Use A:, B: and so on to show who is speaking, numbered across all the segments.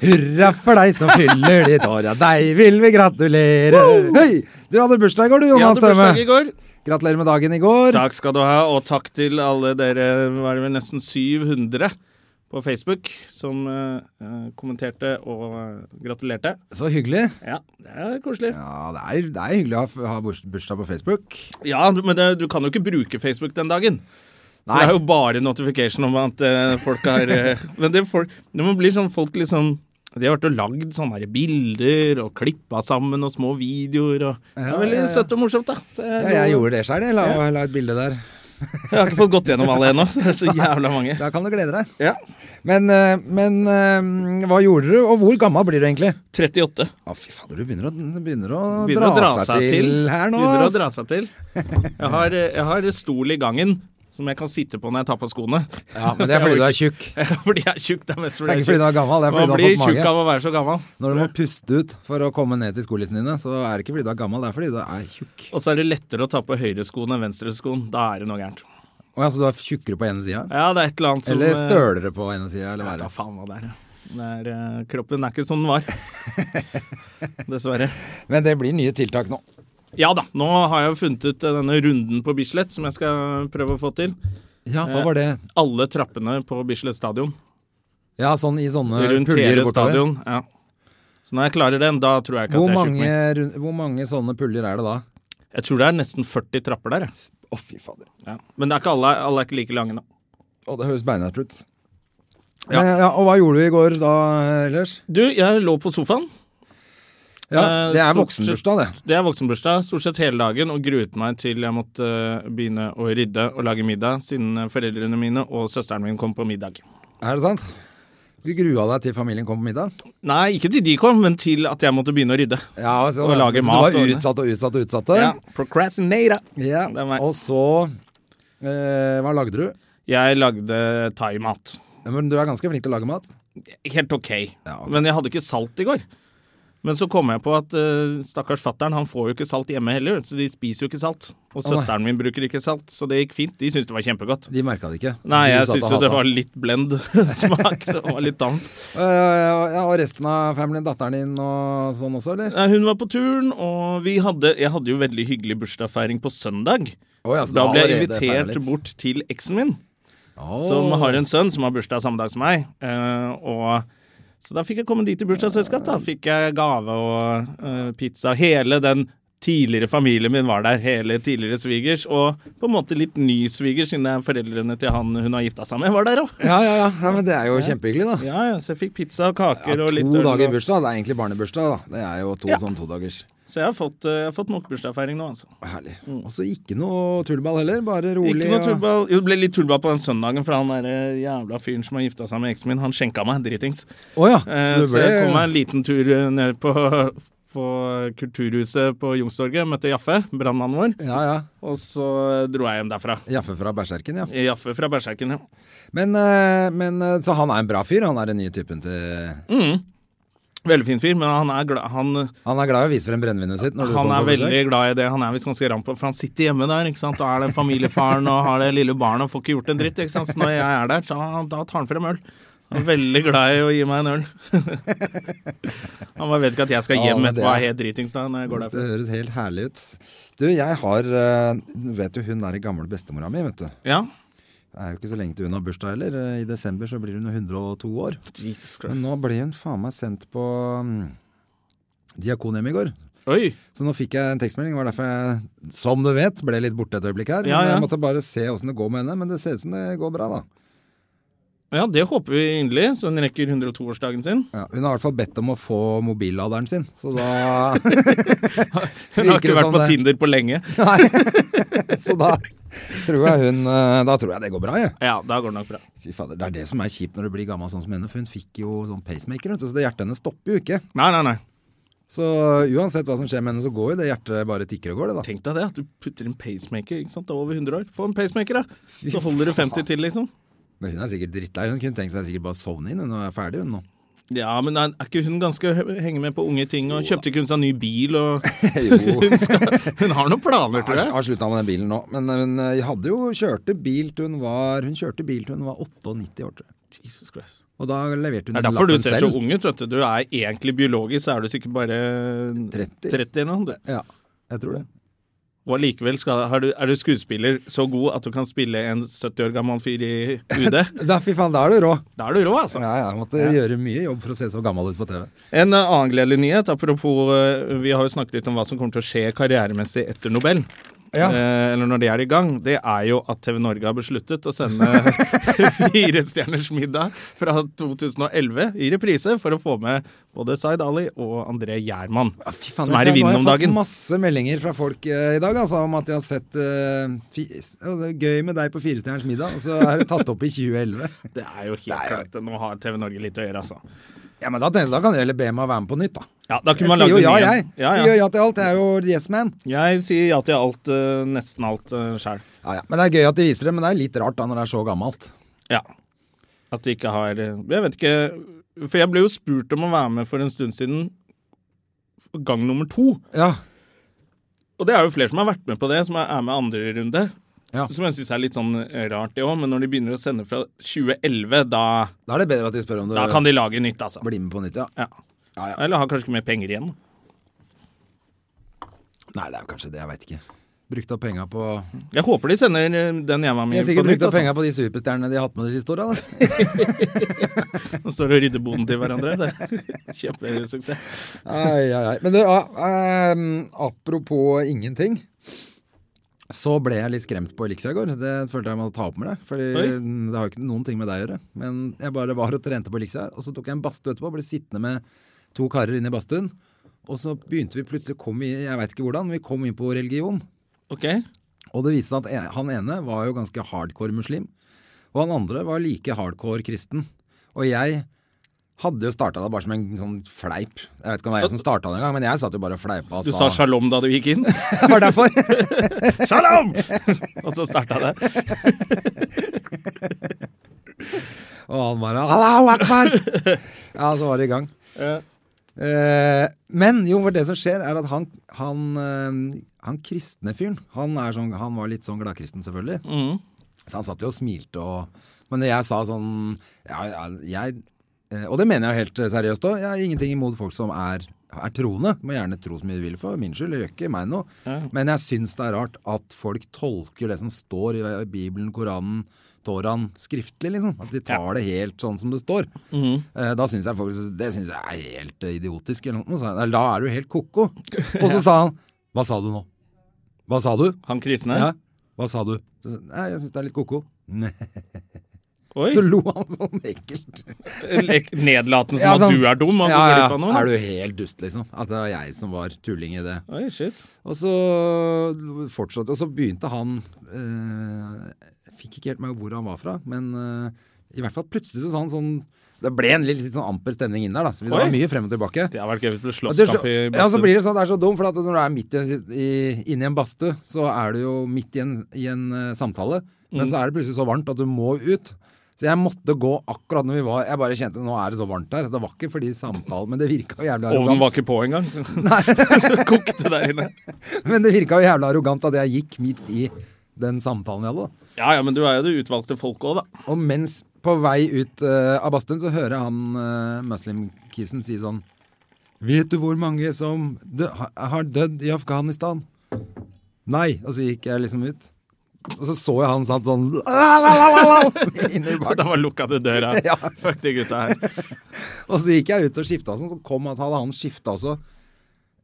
A: Hurra for deg som fyller ditt år, ja, deg vil vi gratulere. Hei, du hadde bursdag i går, du,
B: Jeg
A: Jonas
B: hadde
A: Støme.
B: bursdag i går.
A: Gratulerer med dagen i går.
B: Takk skal du ha, og takk til alle dere, var det vel nesten 700 på Facebook, som eh, eh, kommenterte og eh, gratulerte.
A: Så hyggelig.
B: Ja, det er koselig.
A: Ja, det er, det er hyggelig å ha, ha burs- bursdag på Facebook.
B: Ja, du- men det, du kan jo ikke bruke Facebook den dagen. For
A: Nei.
B: Det er jo bare notification om at eh, folk har eh, Men det, folk, det må bli sånn folk liksom De har vært og lagd sånne her bilder og klippa sammen og små videoer og Det er veldig søtt og morsomt, da. Så jeg,
A: Ja, jeg gjorde det sjøl, jeg la, la et bilde der.
B: jeg har ikke fått gått gjennom alle ennå. Det er så jævla mange.
A: Da kan du glede deg.
B: Ja.
A: Men, eh, men eh, hva gjorde du, og hvor gammel blir du egentlig?
B: 38.
A: Å, fy fader, du begynner å, det begynner å,
B: Begynner
A: dra, seg, til, her nå.
B: Begynner
A: ass.
B: å dra seg til. Jeg har, jeg har stol i gangen som jeg kan sitte på når jeg tar på skoene.
A: Ja, men det er fordi du er tjukk.
B: Fordi jeg er tjukk. Det er mest
A: Det
B: fordi
A: er
B: jeg
A: ikke fordi du er gammel, det er
B: Man
A: fordi du
B: blir
A: har fått
B: tjukk
A: mage.
B: av å være så gammel.
A: Når du må puste ut for å komme ned til skolissene dine, så er det ikke fordi du er gammel, det er fordi du er tjukk.
B: Og så er det lettere å ta på høyreskoen enn venstreskoen. Da er det noe gærent.
A: Å ja, så du er tjukkere på ene sida?
B: Ja, det er et eller annet som
A: Eller
B: eh,
A: stølere på ene sida, eller
B: Jeg vet
A: hva
B: da
A: er det?
B: faen hva det er. Det er eh, kroppen er ikke som den var. Dessverre.
A: Men det blir nye tiltak nå.
B: Ja da, nå har jeg jo funnet ut eh, denne runden på Bislett som jeg skal prøve å få til.
A: Ja, hva var det?
B: Alle trappene på Bislett stadion.
A: Ja, sånn i sånne
B: Rundt
A: puljer
B: hele
A: bortover.
B: stadion. Ja. Så når jeg klarer den, da tror jeg ikke
A: Hvor
B: at jeg er tjukk
A: mange,
B: mer.
A: rund- hvor mange sånne puljer er det da?
B: Jeg tror det er nesten 40 trapper der. jeg.
A: Å, fy fader.
B: Ja. Men det er ikke alle, alle er ikke like lange, da.
A: Å, det høres beinhardt ut.
B: Ja.
A: Men, ja, og hva gjorde du i går da, ellers?
B: Du, jeg lå på sofaen.
A: Ja,
B: Eh,
A: Det er
B: stort
A: voksenbursdag, det.
B: Det er voksenbursdag stort sett hele dagen, og gruet meg til jeg måtte eh, begynne å rydde og lage middag, siden eh, foreldrene mine og søsteren min kom på middag.
A: Er det sant? Du grua deg til familien kom på middag?
B: Nei, ikke til de kom, men til at jeg måtte begynne å rydde.
A: Ja, så,
B: Og lage
A: så
B: mat
A: Du
B: og
A: var
B: ordne.
A: utsatt og utsatt og utsatt?
B: Ja, Procrastinate.
A: Ja,
B: Det er meg.
A: og så eh, Hva lagde du?
B: Jeg lagde thaimat.
A: Ja, Men du er ganske flink til å lage mat.
B: Helt ok,
A: Ja, ok.
B: men jeg hadde ikke salt i går. Men så kom jeg på at eh, stakkars fattern, han får jo ikke salt hjemme heller, så de spiser jo ikke salt. Og
A: nei.
B: søsteren min bruker ikke salt, så det gikk fint. De syntes det var kjempegodt.
A: De merka det ikke.
B: Nei,
A: Du
B: jeg
A: satt og
B: syns jo det
A: hata.
B: var litt blend smak. Det var litt annet.
A: Eh, ja, Og resten av familien, datteren din og sånn også, eller?
B: Nei, Hun var på turen, og vi hadde, jeg hadde jo veldig hyggelig bursdagsfeiring på søndag.
A: Å, ja, så
B: Da
A: du
B: ble
A: har
B: jeg
A: allerede feiret
B: invitert
A: litt.
B: bort til eksen min,
A: Å.
B: som har en sønn som har bursdag samme dag som meg. Eh, og, så da fikk jeg komme dit i bursdagsselskap. Da fikk jeg gave og eh, pizza. Hele den tidligere familien min var der. Hele tidligere svigers, og på en måte litt ny svigers, siden det er foreldrene til han hun har gifta seg med, var der òg.
A: ja, ja, ja, ja, men det er jo kjempehyggelig, da.
B: Ja, ja, så jeg fikk pizza og kaker
A: Ja,
B: og litt
A: to
B: øl
A: dager
B: og-
A: bursdag, det er egentlig barnebursdag, da. Det er jo to sånn todagers.
B: Så jeg har fått, eh, jeg har fått nok bursdagsfeiring nå, altså.
A: Herlig. Og så ikke noe tullball heller, bare rolig.
B: Ikke noe
A: og-
B: tullball. Jo, det ble litt tullball på den søndagen, for han der jævla fyren som har gifta seg med eksen min, han skjenka meg dritings.
A: Å ja.
B: Eh,
A: Så
B: så
A: det
B: jeg kom meg
A: ble
B: en liten tur eh, ned på, på Kulturhuset på Youngstorget, møtte Jaffe, brannmannen vår,
A: Ja, ja.
B: og så dro jeg hjem derfra.
A: Jaffe fra Berserken, ja.
B: Jaffe fra Berserken, ja.
A: Men, eh, men eh, Så han er en bra fyr? Han er den nye typen til
B: Mm. Veldig fin fyr, men han er, gla han,
A: Han er glad i å vise frem brennevinet sitt? Når du
B: han
A: kommer
B: er
A: på besøk.
B: veldig glad i det. Han er visst ganske ramp, for han sitter hjemme der, ikke sant. Og er den familiefaren og har det lille barnet og får ikke gjort en dritt, ikke sant. Så når jeg er der, så han, da tar han frem øl. Han er veldig glad i å gi meg en øl. han bare vet ikke at jeg skal
A: Ja,
B: hjem
A: men det
B: etterpå og
A: er-
B: er helt dritings da når jeg går
A: Det
B: derfra.
A: høres helt herlig ut. Du, jeg har eh, Vet du, hun er den gamle bestemora mi, vet du.
B: Ja.
A: Det er jo ikke så lenge til hun har bursdag heller. Eh, I desember så blir hun jo 102 år.
B: Jesus
A: Men
B: Christ.
A: nå ble hun faen meg sendt på mm, Diakonhjemmet i går.
B: Oi.
A: Så nå fikk jeg en tekstmelding. Det var derfor jeg, som du vet, ble litt borte et øyeblikk her.
B: Ja,
A: Men
B: ja.
A: jeg måtte bare se åssen det går med henne. Men det ser ut som det går bra, da.
B: Ja, det håper vi inderlig, så hun rekker 102-årsdagen sin.
A: Ja, hun har i hvert fall bedt om å få mobilladeren sin, så da
B: Hun har
A: Virker
B: ikke
A: det
B: vært
A: sånn
B: på
A: det?
B: Tinder på lenge.
A: Nei. Så da tror jeg hun, eh, da tror jeg det går bra, jeg.
B: Ja, da går det nok bra.
A: Fy fader, Det er det som er kjipt når du blir gammel sånn som henne. For hun fikk jo sånn pacemaker, vet du, så det hjertet hennes stopper jo ikke.
B: Nei, nei, nei.
A: Så uansett hva som skjer med henne, så går jo det hjertet bare tikker og går, det da.
B: Tenk deg det, at du putter en pacemaker ikke sant? Det er over 100 år. Få en pacemaker, da! Så holder du 50 til, liksom.
A: Men hun er sikkert drittlei. Hun kunne tenkt seg sikkert bare å sovne inn, hun er ferdig hun nå.
B: Ja, men er er ikke hun ganske hø- henge med på unge ting? Og kjøpte ikke hun seg ny bil? Og
A: jo.
B: hun, skal, hun har noen planer, tror
A: Jeg
B: jeg.
A: har slutta med den bilen nå, men hun eh, hadde jo kjørte bil til hun var Hun kjørte bil til hun var 98 år, tror jeg.
B: Jesus Christ.
A: Og da leverte hun
B: Det er
A: inn
B: derfor du
A: lappen
B: ser så
A: selv.
B: ung ut. vet Du Du er egentlig biologisk, så er du sikkert bare
A: 30.
B: 30 eller noe.
A: Ja, jeg tror det.
B: Og allikevel skal, har du, er du skuespiller så god at du kan spille en 70 år gammel fyr i UD.
A: Da, fy faen, da er du rå.
B: Da er du rå, altså.
A: Ja, ja, jeg måtte gjøre mye jobb for å se så gammel ut på TV.
B: En eh, annen gledelig nyhet, apropos eh, Vi har jo snakket litt om hva som kommer til å skje karrieremessig etter Nobel.
A: Ja.
B: Eh, eller når de er i gang. Det er jo at TV Norge har besluttet å sende Fire stjerners middag fra 2011 i reprise for å få med både Zaid Ali og André Gjerman, som er i
A: Nå har
B: vinden
A: jeg
B: om
A: fått
B: dagen.
A: masse meldinger fra folk eh, i dag altså, om at de har sett eh, fi, å, det er Gøy med deg på Firestjerners middag, og så er det tatt opp i 2011.
B: Det er jo helt klart. Nå har TV Norge litt å gjøre, altså.
A: Ja, men Da tenkte jeg, da kan dere heller be meg å være med på nytt, da.
B: Ja, da kunne
A: Jeg
B: man lagd
A: sier jo
B: en
A: ja,
B: ny
A: jeg.
B: en. Ja,
A: Sier jo
B: ja.
A: ja til alt. Jeg er jo yes man.
B: Jeg sier ja til alt, eh, nesten alt uh, sjæl.
A: Ja, ja. Men Det er gøy at de viser det, men det er litt rart da når det er så gammelt.
B: Ja. At de ikke har eh, Jeg vet ikke For jeg ble jo spurt om å være med for en stund siden. Gang nummer to.
A: Ja,
B: Og det er jo flere som har vært med på det, som er med andre runde.
A: Ja.
B: Som jeg syns er litt sånn rart, det òg. Men når de begynner å sende fra 2011, da,
A: Da er det bedre at de spør om du
B: da kan de lage nytt, altså.
A: blir med på nytt, ja.
B: Ja.
A: Ja, ja.
B: Eller har kanskje ikke mer penger igjen.
A: Nei, det er jo kanskje det. Jeg veit ikke. Brukte opp penga på
B: Jeg håper de sender eh, den jeg var
A: De
B: med
A: har
B: i på nytt.
A: sikkert brukt opp
B: Altså.
A: penga på de superstjernene de har hatt med de siste åra, da.
B: De står og rydder boden til hverandre. Det er Kjempesuksess.
A: Ai, ai, ai. Men du, ah, ehm, apropos ingenting. Så ble jeg litt skremt på Elixia i går. Det følte jeg måtte ta opp med deg. Fordi
B: Oi.
A: det har jo ikke noen ting med deg å gjøre. Men jeg bare var og trente på Elixia, og så tok jeg en badstue etterpå. Ble sittende med to karer inne i badstuen. Og så begynte vi plutselig kom i, Jeg veit ikke hvordan, men vi kom inn på religion.
B: OK?
A: Og det viste seg at en- han ene var jo ganske hardcore muslim, og han andre var like hardcore kristen. Og jeg hadde jo starta det bare som en sånn fleip. Jeg vet ikke om det var jeg som starta det engang, men jeg satt jo bare og fleipa og
B: Du sa shalom da du gikk inn.
A: Det var derfor!
B: Shalom! og så starta det.
A: Og han bare Allahu akbar! Ja, så var det i gang.
B: Ja.
A: Eh, men jo, for det som skjer, er at han, han, eh, han kristne fyren han, er sånn, han var litt sånn gladkristen, selvfølgelig.
B: Mm.
A: Så han satt jo og smilte og Men jeg sa sånn ja, ja, jeg, eh, Og det mener jeg jo helt seriøst òg. Jeg har ingenting imot folk som er, er troende. Må gjerne tro så mye de vil for min skyld. Det gjør ikke meg noe. Men jeg syns det er rart at folk tolker det som står i Bibelen, Koranen, Toraen, skriftlig, liksom. At de tar det helt sånn som det står. Eh, Da syns jeg faktisk Det syns jeg er helt eh, idiotisk. Eller noe. Så jeg, "Nei, Da er du helt ko-ko. Og så sa han Hva sa du nå? Hva sa du?
B: Han kristne?
A: Ja. Hva sa du? Så, sa jeg, Nei, jeg syns det er litt ko-ko. Nei.
B: Oi,
A: Så lo han sånn ekkelt.
B: lek- Nedlatende som
A: Ja,
B: at
A: sånn.
B: du er dum. Og
A: Ja, ja,
B: Går glipp av
A: Er
B: noe.
A: du helt dust, liksom? At det var jeg som var tulling i det.
B: Oi, shit.
A: Og så fortsatte Og så begynte han eh, Jeg fikk ikke helt med hvor han var fra, men eh, i hvert fall plutselig så sa han sånn Det ble en litt, litt sånn amper stemning inn der, da. Så det var
B: Oi.
A: mye frem og tilbake.
B: Det har vært gøy hvis det ble
A: Og til
B: slåsskamp i
A: slutt- ja, så
B: badstuen.
A: blir det sånn, det er så dumt, for at når du er midt i, en- i, inne i en badstue, så er du jo midt i en, i en eh, samtale, men
B: Mm.
A: så er det plutselig så varmt at du må ut. Så jeg måtte gå akkurat når vi var Jeg bare kjente nå er det så varmt her. Det var ikke fordi samtalen Men det virka jo jævlig
B: Ovnen var
A: arrogant.
B: ikke på engang. Det Kokte der inne.
A: Men det virka jo jævlig arrogant at jeg gikk midt i den samtalen vi hadde. da.
B: Ja ja, men du er jo det utvalgte folket òg, da.
A: Og mens på vei ut eh, av badstuen, så hører jeg han uh, muslimkisen si sånn Vet du hvor mange som dø ha- har dødd i Afghanistan? Nei. Og så gikk jeg liksom ut. Og så så jeg han satt sånn inni bak.
B: Da var lukka til døra.
A: Ja.
B: Fuck de gutta her.
A: Og så gikk jeg ut og skifta og sånn, så kom han, så hadde han skifta også.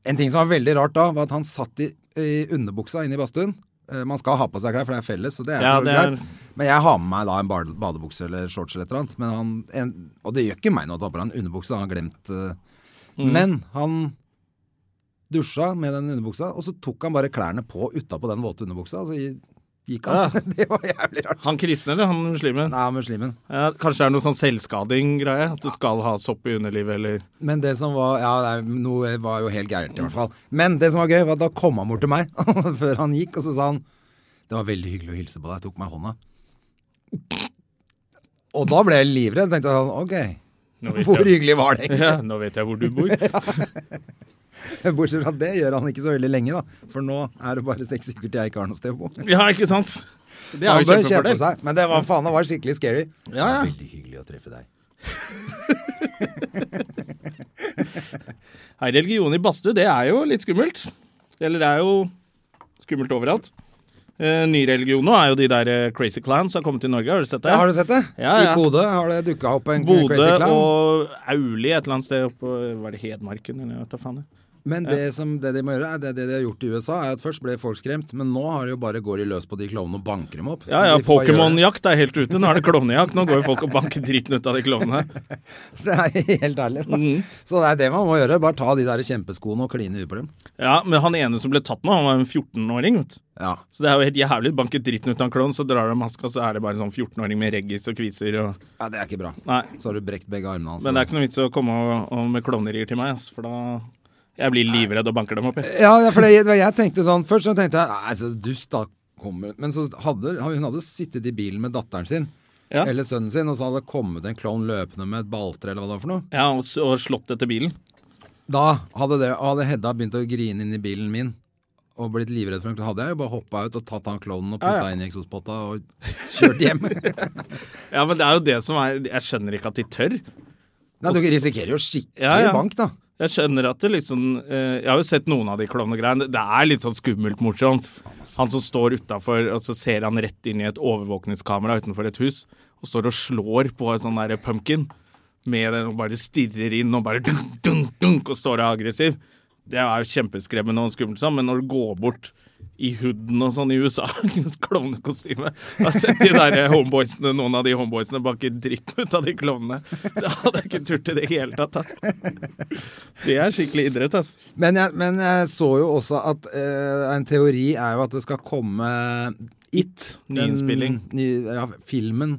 A: En ting som var veldig rart da, var at han satt i, i underbuksa inne i badstuen. Eh, Man skal ha på seg klær, for det er felles, så det er,
B: Ja,
A: for så
B: det
A: vidt
B: er-
A: greit. Men jeg har med meg da en bad- badebukse eller shorts eller et eller annet. Men han, en, og det gjør ikke meg noe at han har på seg en underbukse, han har glemt eh,
B: Mm.
A: Men han dusja med den underbuksa, og så tok han bare klærne på utapå den våte underbuksa, og så i- gikk han. det var jævlig rart.
B: Han kristne eller han muslimen?
A: Nei, muslimen.
B: Ja, kanskje det er noe sånn selvskading-greie? At du skal ha sopp i underlivet, eller
A: Men det som var Ja, det er, noe var jo helt gærent, i hvert fall. Men det som var gøy, var at da kom han bort til meg før han gikk, og så sa han Det var veldig hyggelig å hilse på deg. Tok meg i hånda. Og da ble jeg livredd. Tenkte jeg sånn OK,
B: Nå vet
A: hvor
B: jeg-
A: hyggelig var det egentlig?
B: Ja, nå vet jeg hvor du bor.
A: Bortsett fra at det gjør han ikke så veldig lenge, da. For nå er det bare seks uker til jeg ikke har noe sted å bo.
B: Ja, ikke sant? Det er
A: Han
B: jo
A: bør kjøpe
B: kjempefordel.
A: seg. Men det var faen, det var skikkelig scary.
B: Ja, ja.
A: Det er Veldig hyggelig å treffe deg.
B: Nei, religion i badstue, det er jo litt skummelt. Eller det er jo skummelt overalt. Eh, ny religion nå er jo de der eh, Crazy Clans som har kommet til Norge, har du sett det?
A: har du sett det?
B: Ja, ja.
A: I Bodø har det dukka opp en
B: Bodø
A: crazy clown.
B: og Auli et eller annet sted oppå Var det Hedmarken, eller hva faen? det-
A: Men det som det de må gjøre, er det, det de har gjort i USA, er at først ble folk skremt, men nå har de jo bare går de løs på de klovnene og banker dem opp.
B: Ja ja,
A: Så de får bare gjøre det.
B: Pokémon-jakt er helt ute. Nå er det klovnejakt. Nå går jo folk og banker dritten ut av de klovnene.
A: Det er helt ærlig. Da.
B: Mhm.
A: Så det er det man må gjøre. Bare ta de der kjempeskoene og kline ut på dem.
B: Ja, men han ene som ble tatt nå, han var en 14-åring, vet du.
A: Ja.
B: Så det er jo helt jævlig. Banker dritten ut av en klovn, så drar de maska, så er det bare en sånn 14-åring med reggis og kviser og
A: ja, det er ikke bra.
B: Nei.
A: Så har du brekt begge armene
B: Men
A: altså. hans.
B: det er ikke noe vits å komme og, og med klovnerier til meg, ass, for da Jeg blir livredd og banker dem opp. jeg.
A: Ja, ja, for det, det var- jeg tenkte sånn Først så tenkte jeg Nei, så dust da kommer Men så hadde hun hadde sittet i bilen med datteren sin
B: Ja.
A: Eller sønnen sin Og så hadde det kommet en klovn løpende med et baltre Eller hva det var for noe
B: Ja, og, s- og slått etter bilen.
A: Da hadde, det, hadde Hedda begynt å grine inn i bilen min Og blitt livredd for en klovn Hadde jeg jo bare hoppet ut og tatt han klovnen Og puttet
B: Ja, ja.
A: inn i eksospotta og kjørt hjem
B: Ja, men det er jo det som er Jeg skjønner ikke at de tør.
A: Nei, du risikerer jo skikkelig
B: Ja, ja.
A: bank da
B: Jeg skjønner at det liksom eh, Jeg har jo sett noen av de klovnegreiene. Det er litt sånn skummelt morsomt. Han som står utafor, og så ser han rett inn i et overvåkningskamera utenfor et hus, og står og slår på en sånn derre pumpkin med den og bare stirrer inn og bare dunk, dunk, dunk, og står og er aggressiv. Det er jo kjempeskremmende og skummelt, sånn, men når du går bort i hooden og sånn i USA, klovnekostyme Jeg har sett de der homeboysene, noen av de homeboysene baker dritten ut av de klovnene. Det hadde jeg ikke turt i det hele tatt, altså. Det er skikkelig idrett, ass.
A: Men jeg, men jeg så jo også at eh, en teori er jo at det skal komme It.
B: nyinnspilling.
A: Den, ny, ja, filmen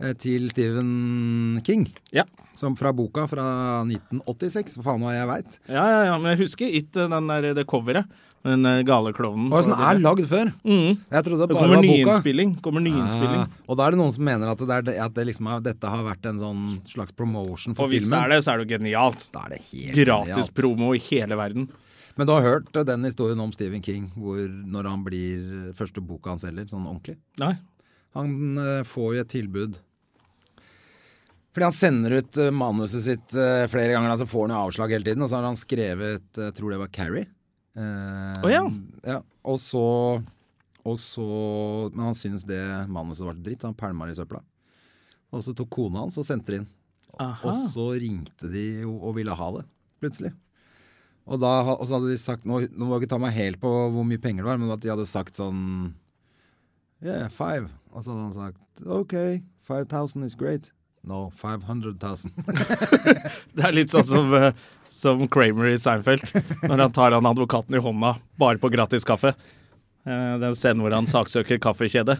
A: eh, til Stephen King.
B: Ja.
A: Som fra boka fra 1986. Hva faen hva jeg veit.
B: Ja, ja, ja, men jeg husker ikke den der, det coveret. Den der gale klovnen.
A: Og sånn
B: på
A: er
B: det.
A: lagd før.
B: Mhm.
A: Jeg trodde det
B: Mm. Det
A: bare
B: kommer
A: var boka.
B: nyinnspilling. Kommer nyinnspilling.
A: Ja, og da er det noen som mener at, det er, at det liksom har, dette har vært en sånn slags promotion for
B: Og hvis det
A: filmen.
B: er det, så er det jo genialt.
A: Da er det helt
B: Gratis
A: genialt.
B: promo i hele verden.
A: Men du har hørt den historien om Stephen King hvor, når han blir første boka han selger, sånn ordentlig?
B: Nei.
A: Han eh, får jo et tilbud. Fordi han sender ut eh, manuset sitt eh, flere ganger, da, så får han jo avslag hele tiden. Og så har han skrevet, eh, jeg tror det var Carrie. Eh,
B: Å ja.
A: ja. Og så og så, Men han syntes det manuset var dritt, så han pælma det i søpla. Og så tok kona hans og sendte det inn.
B: Aha.
A: Og så ringte de jo og ville ha det, plutselig. Og, da, ha- og så hadde de sagt Nå, nå må jeg ikke ta meg helt på hvor mye penger det var, men at de hadde sagt sånn Yeah, five. Og så hadde han sagt OK, 5000 is great. No, 500,000.
B: Det er litt sånn som, eh, som Kramer i Seinfeld. Når han tar han advokaten i hånda bare på gratis kaffe. Eh, Den scenen hvor han saksøker kaffekjedet.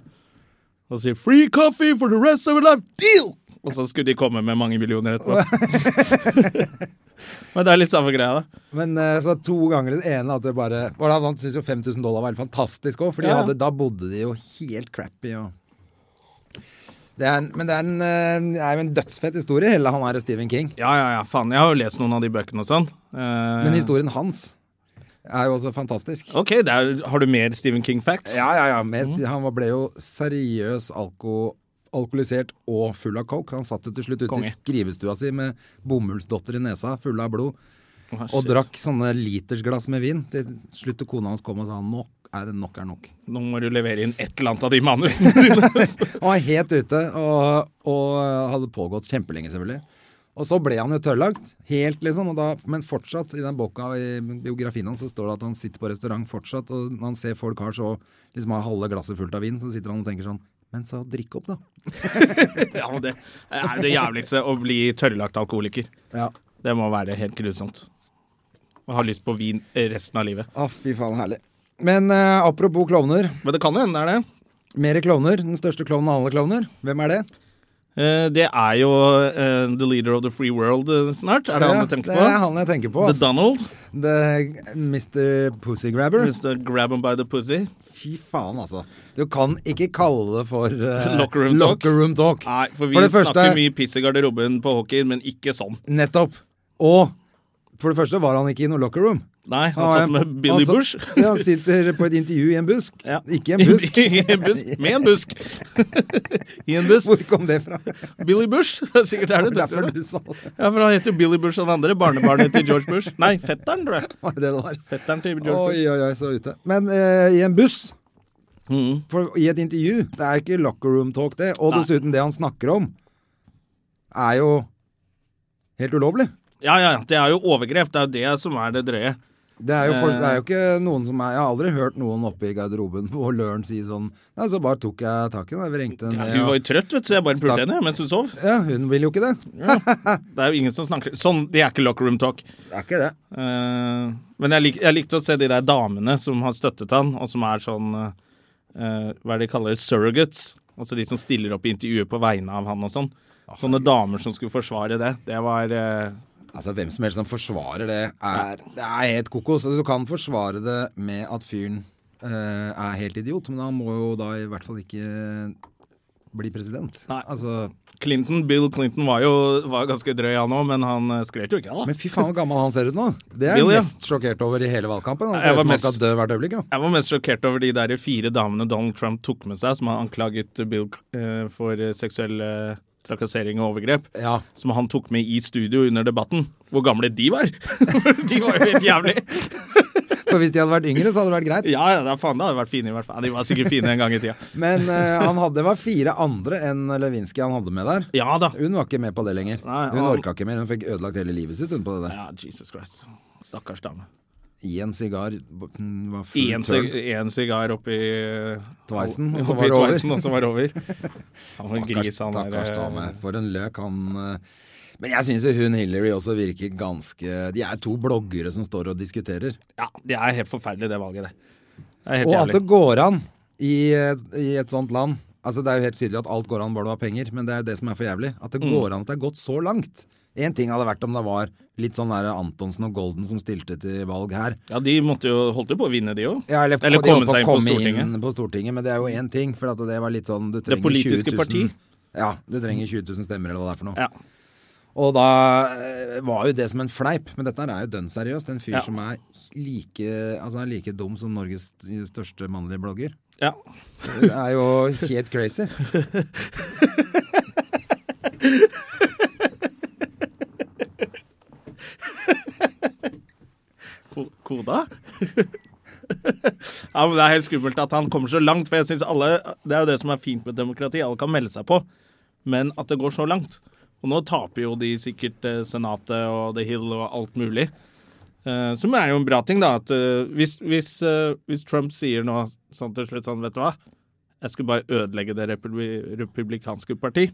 B: Og sier 'free coffee for the rest of your life'. Deal! Og så skulle de komme med mange millioner etterpå. Men det er litt samme greia, da.
A: Men eh, så to ganger det ene at det bare og da- Han syntes jo 5000 dollar var helt fantastisk òg, for de
B: Ja.
A: hadde, da bodde de jo helt crappy. Og det er, en- men det er, en, eh, det er jo en dødsfett historie, hele han her Stephen King.
B: Ja, ja, ja, faen. Jeg har jo lest noen av de bøkene og sånn. Eh,
A: Men historien hans er jo også fantastisk.
B: OK, det er, har du mer Stephen King-facts?
A: Ja, ja, ja. Mest,
B: Mm.
A: Han var- ble jo seriøs alko, alkoholisert og full av coke. Han satt jo til slutt ute
B: Konge.
A: i skrivestua si med bomullsdotter i nesa, full av blod, og drakk sånne litersglass med vin. Til slutt kona hans kom og sa nok er det nok er nok.
B: Nå må du levere inn et eller annet av de manusene dine.
A: Han var helt ute og, og hadde pågått kjempelenge, selvfølgelig. Og så ble han jo tørrlagt, helt liksom, og da, men fortsatt, i den boka i biografien hans, så står det at han sitter på restaurant fortsatt, og når han ser folk har så, liksom har halve glasset fullt av vin, så sitter han og tenker sånn, men så drikk opp da.
B: ja, men det er det jævligste å bli tørrlagt alkoholiker.
A: Ja.
B: Det må være helt grusomt. Og har lyst på vin resten av livet.
A: Å, fy faen, herlig. Men eh, apropos klovner.
B: Men det kan jo hende det er det.
A: Mere klovner. Den største klovnen av alle klovner. Hvem er det?
B: Eh, det er jo eh, The Leader of the Free World eh, snart. Er det han du tenker
A: det er
B: på?
A: han jeg tenker på.
B: The
A: Altså.
B: Donald.
A: The Mr. Pussy Grabber.
B: Mr. Grab 'em by the pussy.
A: Fy faen, altså. Du kan ikke kalle det for eh,
B: Locker room talk.
A: locker room talk.
B: Nei, for vi
A: For det første-
B: snakker mye piss i garderoben på hockey, men ikke sånn.
A: Nettopp. Og for det første var han ikke i noe locker room.
B: Nei, han
A: var
B: satt
A: en-
B: med Billy
A: han satt-
B: Bush.
A: Ja, han sitter på et intervju i en busk.
B: Ja.
A: Ikke i en busk.
B: I en busk. Med en busk. I en busk.
A: Hvor kom det fra?
B: Billy Bush. Det er sikkert der du
A: Derfor
B: tenkte
A: du
B: det.
A: sa det.
B: Ja, for han heter jo Billy Bush og den andre. Barnebarnet til George Bush. Nei, fetteren, tror jeg.
A: Var det det det var?
B: Fetteren til George Bush.
A: Oi, oi, oi, så ute. Men eh, i en buss,
B: Mhm.
A: for, i et intervju, det er ikke locker room talk, det. Og
B: Nei.
A: dessuten, det han snakker om, er jo helt ulovlig.
B: Ja, ja, ja. det er jo overgrep. Det er jo det som er det drøye.
A: Det er, jo folk,
B: Eh.
A: det er jo ikke noen som er Jeg har aldri hørt noen oppe i garderoben på Løren si sånn Nei, så bare tok jeg tak i den, jeg vrengte den
B: Ja,
A: ned.
B: hun var
A: og-
B: jo trøtt, vet du, så jeg bare
A: Stakk.
B: pulte henne mens hun sov.
A: Ja, hun vil jo ikke det.
B: Det er jo ingen som snakker Sånn, det er ikke locker room talk.
A: Det er ikke det.
B: Eh, men jeg, lik, jeg likte å se de der damene som har støttet han, og som er sånn eh, eh, Hva er det de kaller surrogates? Altså de som stiller opp i intervjuer på vegne av han og sånn. Sånne damer som skulle forsvare det. Det var eh,
A: Altså, hvem som helst som forsvarer det, er, det er helt kokos. Altså, du kan forsvare det med at fyren eh, er helt idiot, men han må jo da i hvert fall ikke eh, bli president.
B: Nei.
A: Altså,
B: Clinton, Bill Clinton var jo var ganske drøy, han òg, men han eh, skrøt jo ikke, da.
A: men fy faen hvor gammel han ser ut nå. Det er jeg
B: Bill, ja.
A: mest sjokkert over i hele valgkampen. Han
B: Jeg
A: ser ut
B: var
A: som han
B: mest-
A: skal dø hvert øyeblikk. Ja.
B: Jeg var mest sjokkert over de der fire damene Donald Trump tok med seg, som han anklaget Bill eh, for eh, seksuell eh, trakassering og overgrep.
A: Ja.
B: Som han tok med i studio under debatten. Hvor gamle de var! de var jo helt jævlig.
A: For hvis de hadde vært yngre, så hadde det vært greit.
B: Ja, ja, det er faen, det hadde vært fine i hvert fall. De var sikkert fine en gang i tida.
A: Men eh, han hadde, det var fire andre enn Lewinsky han hadde med der.
B: Ja da.
A: Hun var ikke med på det lenger.
B: Nei,
A: hun
B: han-
A: orka ikke mer. Hun fikk ødelagt hele livet sitt hun på det der.
B: Ja, Jesus Christ. Stakkars dame.
A: I en sigar Hun var full
B: Én
A: tørn.
B: sig- én sigar oppi eh,
A: Twicen, og så
B: oppi
A: var det over.
B: Twicen, og så var det over. Han var en
A: Stakkars,
B: gris, han eh, der.
A: stakkars dame. For en løk han eh. Men jeg syns jo hun Hillary også virker ganske De er to bloggere som står og diskuterer.
B: Ja, det er helt forferdelig, det valget der. Det er helt
A: Og at det
B: jævlig.
A: går an i, et- i et sånt land Altså Det er jo helt tydelig at alt går an bare du har penger, men det er jo det som er for jævlig.
B: Mm.
A: At det går an at det har gått så langt. Én ting hadde vært om det var litt sånn der Antonsen og Golden som stilte til valg her.
B: Ja, de måtte jo, holdt jo på å vinne, de òg.
A: Ja, eller,
B: Eller
A: de
B: komme
A: holdt på å
B: seg inn på
A: komme
B: Stortinget.
A: Inn på Stortinget. Men det er jo én ting, for at det var litt sånn du trenger
B: politiske
A: 20 000
B: parti.
A: Ja, du trenger 20 000 stemmer eller hva det er for noe.
B: Ja.
A: Og da eh, var jo det som en fleip, men dette her er jo dønn seriøst. En fyr
B: Ja.
A: som er like, altså han er like dum som Norges største mannlige blogger.
B: ja.
A: Det er jo helt crazy.
B: Ko- Koda? ja, men Det er helt skummelt at han kommer så langt. For jeg synes alle, Det er jo det som er fint med demokrati. Alle kan melde seg på. Men at det går så langt. Og nå taper jo de sikkert eh, Senatet og The Hill og alt mulig. Eh, som er jo en bra ting, da. At, eh, hvis, hvis, eh, hvis Trump sier nå sånn til slutt sånn, vet du hva Jeg skulle bare ødelegge det republi republikanske parti.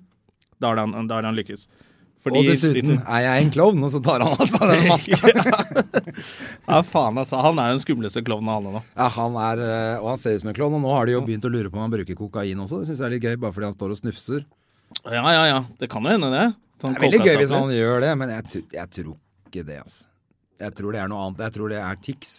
B: Da har han, da har han lykkes. Fordi-
A: og dessuten er jeg en klovn, og så tar han altså den maska.
B: Ja, faen, altså. Han er jo den skumleste klovnen av alle nå.
A: Ja, han er, eh, og han ser ut som en klovn, og nå har de jo begynt å lure på om han bruker kokain også. Det syns jeg er litt gøy, bare fordi han står og snufser.
B: Ja, ja, ja. Det kan jo hende, det. Sånn
A: Det er veldig gøy hvis han gjør det, men jeg, tr- jeg tror ikke det, altså. Jeg tror det er noe annet. Jeg tror det er tics.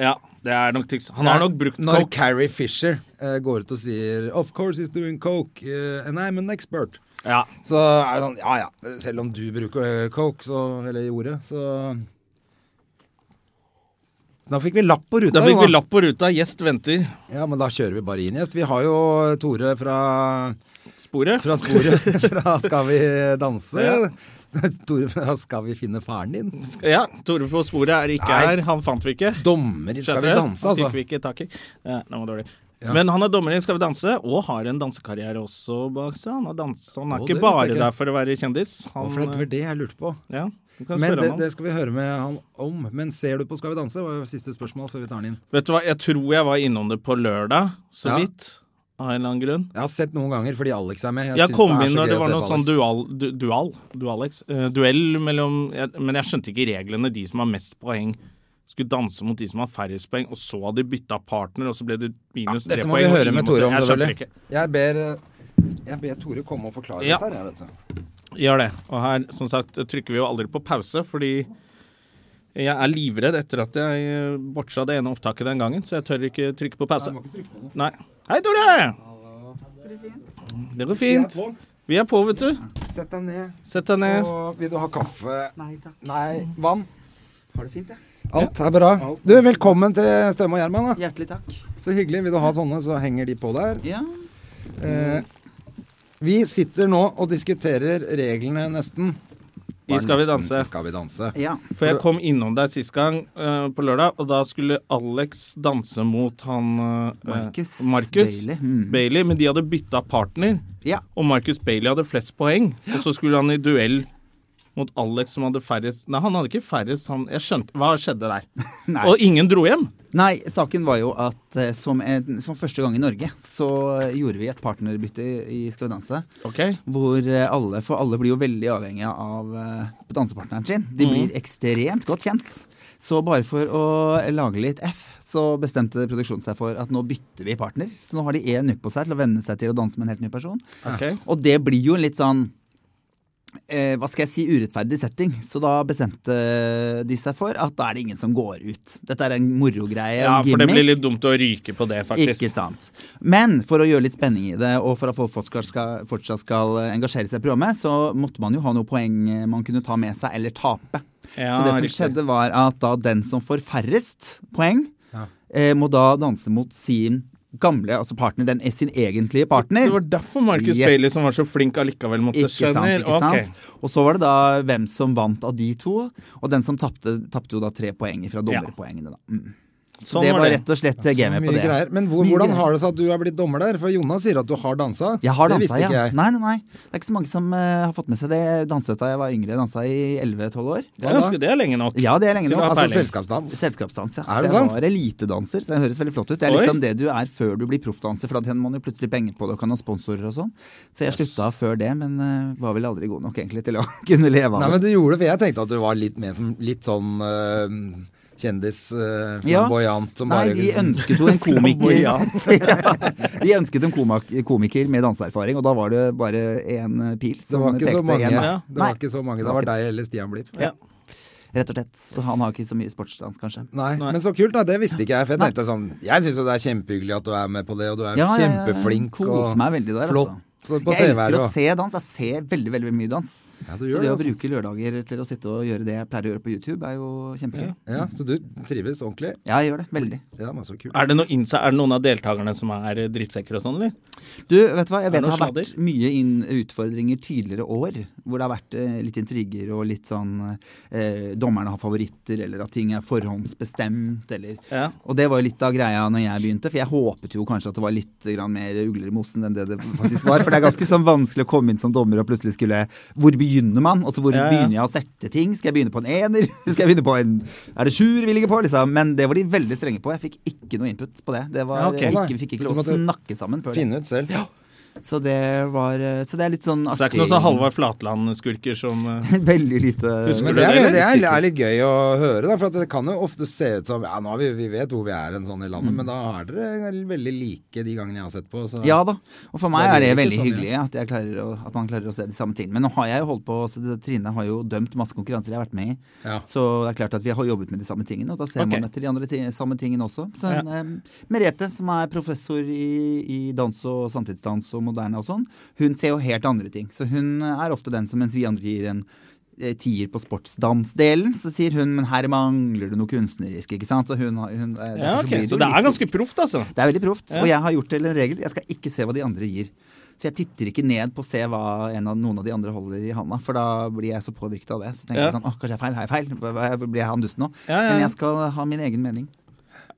B: Ja, det er nok tics. Han har nok brukt
A: Når
B: coke.
A: Carrie Fisher eh, går ut og sier 'Of course he's doing coke, eh, and I'm an expert',
B: Ja.
A: så er det sånn Ja ja, selv om du bruker eh, coke, så, eller gjorde, så Da fikk vi lapp på ruta.
B: Da fikk vi
A: Jonas.
B: lapp på ruta. Gjest venter.
A: Ja, men da kjører vi bare inn gjest. Vi har jo Tore fra,
B: Sporet.
A: fra sporet fra Skal vi danse.
B: Ja.
A: Tore fra Skal vi finne faren din.
B: Ja, Tore på sporet er ikke
A: Nei.
B: her. Han fant vi ikke.
A: Dommer i Skal
B: Skjønner
A: vi
B: du?
A: danse,
B: Han Fikk
A: altså.
B: vi ikke tak i. Ja, den var dårlig. Men han er dommer i Skal vi danse, og har en dansekarriere også bak seg. Han, har danset. han er
A: Å, det
B: ikke
A: visste
B: bare
A: jeg ikke.
B: der for å være kjendis. Han,
A: For det var det jeg lurte på.
B: ja, du kan
A: Men
B: spørre
A: det,
B: ham om.
A: det skal vi høre med han om. Men ser du på Skal vi danse? var jo siste spørsmål før vi tar den inn.
B: Vet du hva, jeg tror jeg var innom det på lørdag, så
A: Ja.
B: vidt. Av en eller annen grunn.
A: Jeg har sett noen ganger fordi Alex er med.
B: Jeg
A: syns
B: kom
A: er
B: inn
A: så
B: når
A: gøy
B: det
A: å
B: var
A: se
B: noe
A: på
B: sånn
A: Alex.
B: dual, du, dual, dual Alex, eh, duell mellom jeg, Men jeg skjønte ikke reglene, de som har mest poeng skulle danse mot de som hadde færrest poeng, og så hadde de bytta partner, og så ble det minus tre
A: Dette må
B: poeng.
A: vi
B: og
A: høre
B: ingen
A: med
B: måtte-
A: Tore om,
B: Jeg skjønte
A: selvfølgelig.
B: ikke.
A: Jeg ber, jeg ber Tore komme og forklare
B: Ja.
A: dette her, jeg, vet du.
B: Gjør det. Og her, som sagt, trykker vi jo aldri på pause, fordi jeg er livredd etter at jeg eh, botcha det ene opptaket den gangen, så jeg tør ikke trykke på pause. Nei. Hei, Tore! Det går fint. Vi er på, vet du.
A: Sett deg ned.
B: Sett deg ned.
A: Og vil du ha kaffe?
C: Nei takk.
A: Nei, vann?
C: Har det fint, jeg.
A: Alt er bra. Du, velkommen til Støme og Gjerman. da.
C: Hjertelig takk.
A: Så hyggelig. Vil du ha sånne, så henger de på der.
C: Ja.
A: Eh, vi sitter nå og diskuterer reglene nesten.
B: I Skal vi
A: Nesten
B: danse.
A: i Skal vi danse.
C: ja.
B: For jeg kom innom deg sist gang eh, på lørdag, og da skulle Alex danse mot han eh,
C: Marcus
B: eh, Marcus
C: Bailey. Mm.
B: Bailey, Men de hadde bytta partner,
C: Ja.
B: og Marcus Bailey hadde flest poeng. Og så skulle han i duell mot Alex som hadde færrest Nei, han hadde ikke færrest, han Jeg skjønte Hva skjedde der?
C: Nei.
B: Og ingen dro hjem.
C: Nei, saken var jo at eh, som, en, som første gang i Norge, så gjorde vi et partnerbytte i Skal vi danse.
B: OK?
C: Hvor eh, alle, for alle blir jo veldig avhengige av eh, dansepartneren sin. De blir ekstremt godt kjent. Så bare for å lage litt F, så bestemte produksjonen seg for at nå bytter vi partner. Så nå har de én uke på seg til å venne seg til å danse med en helt ny person.
B: ok.
C: Og det blir jo en litt sånn eh, hva skal jeg si, urettferdig setting. Så da bestemte de seg for at da er det ingen som går ut. Dette er en morogreie.
B: Ja,
C: en
B: for det
C: gimmick.
B: blir litt dumt å ryke på det, faktisk.
C: Ikke sant. Men for å gjøre litt spenning i det, og for at folk fortsatt skal, fortsatt skal engasjere seg i programmet, så måtte man jo ha noen poeng man kunne ta med seg eller tape.
B: Ja,
C: så det som
B: riktig.
C: skjedde, var at da den som får færrest poeng, eh, må da danse mot sin gamle, altså partner, den sin egentlige partner.
B: Det var derfor Marcus
C: Yes.
B: Bailey, som var så flink allikevel, måtte
C: Ikke sant,
B: skjønner.
C: ikke sant.
B: Ok.
C: Og så var det da hvem som vant av de to, og den som tapte, tapte jo da tre poeng fra
B: Ja.
C: dommerpoengene, da. Mm. Så
B: Sånn
C: det
B: var
C: var
B: det.
C: rett og slett gamet
A: Mye
C: på det.
A: greier. Men hvor,
C: Mye
A: hvordan
C: greier.
A: har det seg at du er blitt dommer der? For Jonas sier at du har dansa.
C: Jeg har
A: det
C: dansa,
A: visste
C: ja.
A: ikke jeg.
C: Nei, nei, nei. Det er ikke så mange som eh, har fått med seg det. Jeg danset da jeg var yngre. Jeg dansa i 11-12 år.
B: Det er ganske det er lenge nok.
C: Ja, det er lenge
B: Til å
C: nok.
B: ha
A: Altså
B: peiling.
A: selskapsdans.
C: Selskapsdans, ja.
A: Er det
C: så jeg
A: sant?
C: var elitedanser, så jeg høres veldig flott ut. Det er
B: Oi.
C: liksom det du er før du blir proffdanser, for da tjener man jo plutselig penger på det og kan ha sponsorer og sånn. Så jeg slutta før det, men eh, var vel aldri god nok egentlig til å kunne
A: Nei,
C: leve av det.
A: men du gjorde det, for jeg tenkte at du var litt mer som litt sånn øh, kjendis, øh,
C: Ja.
A: flamboyant, som
C: Nei,
A: bare liksom
C: de ønsket jo en komiker ja, De ønsket en komak- komiker med danseerfaring, og da var det bare én eh, pil
A: Det
C: som
A: var ikke
C: pekte
A: så mange.
C: igjen.
B: Ja.
A: Det
C: Nei.
A: var ikke så mange.
C: Det
A: Det
C: var
A: var deg eller Stian Blipp.
B: Ja.
C: Rett og slett. Og Han har ikke så mye sportsdans, kanskje.
A: Nei, men så kult, da. Det visste ikke jeg. For jeg tenkte sånn Jeg syns jo det er kjempehyggelig at du er med på det, og du er
C: Ja, ja, ja, ja.
A: kjempeflink
C: Koser meg veldig der,
A: flott
C: altså.
A: på
C: Jeg
A: TV her
C: elsker å
A: og
C: se dans. Jeg ser veldig veldig mye dans.
A: Ja, du
C: Så
A: gjør
C: det å
A: altså.
C: bruke lørdager til å sitte og gjøre det jeg pleier å gjøre på YouTube, er jo kjempegøy.
A: Ja, så du trives ordentlig?
C: Ja, jeg gjør det. Veldig.
A: Ja, men så kult.
B: Er det, noe innsa- er det noen av deltakerne som er drittsekker og sånn, eller?
C: Du, vet du hva? Jeg
B: Er det
C: vet det har
B: noen
C: vært
B: sladder?
C: mye inn utfordringer tidligere år, hvor det har vært eh, litt intriger og litt sånn eh, Dommerne har favoritter, eller at ting er forhåndsbestemt, eller
B: Ja.
C: Og det var jo litt av greia når jeg begynte, for jeg håpet jo kanskje at det var litt grann mer ugler i mosen enn det det faktisk var. For det er ganske sånn vanskelig å komme inn som dommer og plutselig skulle Hvor begynner man? Altså hvor
B: Ja, ja.
C: begynner jeg å sette ting? Skal jeg begynne på en ener? Skal jeg begynne på en Er det sjuer vi ligger på? Liksom. Men det var de veldig strenge på. Jeg fikk ikke noe input på det. Det var
A: Ja, ok.
C: ikke, Vi fikk ikke lov å
A: Du måtte
C: snakke sammen før det.
A: Finne ut selv.
C: Så det var eh, Så det er litt sånn
B: Så det er
C: artig.
B: ikke noe sånn Halvard Flatland-skurker som eh,
C: Veldig lite
B: Husker
A: Men
B: du
A: det er,
B: det,
A: det, er, det er litt gøy å høre, da, for at det kan jo ofte se ut som Ja, nå har vi, vi vet hvor vi er en sånn i
C: Mm.
A: landet, men da er dere veldig like de gangene jeg har sett på. Så.
C: Ja da. Og for meg
A: Da
C: er det
A: blir det
C: veldig
A: ikke sånn,
C: hyggelig at, jeg klarer å, at man klarer å se de samme tingene. Men nå har jeg jo holdt på, så det, Trine har jo dømt masse konkurranser jeg har vært med i.
A: Ja.
C: Så det er klart at vi har jobbet med de samme tingene, og da ser
B: Ok.
C: man etter de andre ti samme tingene også. Så en, em, Merete, som er professor i, i dans og samtidsdans og moderne og sånn, hun ser jo helt andre ting. Så hun er ofte den som mens vi andre gir en eh, tier på sportsdansdelen, så sier hun men her mangler det noe kunstnerisk, ikke sant. Så hun, har- hun eh,
B: Ja,
C: derfor
B: ok.
C: blir
B: Så
C: jo
B: det
C: litt-
B: er ganske proft, altså.
C: det er veldig proft.
B: Ja.
C: Og jeg har gjort det til en regel. Jeg skal ikke se hva de andre gir. Så jeg titter ikke ned på å se hva en av, noen av de andre holder i handa, for da blir jeg så påvirket av det. Så tenker
B: Ja.
C: jeg sånn, åh, kanskje jeg er feil, har jeg feil? Hva- hva- Blir jeg han dusten nå?
B: Ja, ja, ja.
C: Men jeg skal ha min egen mening.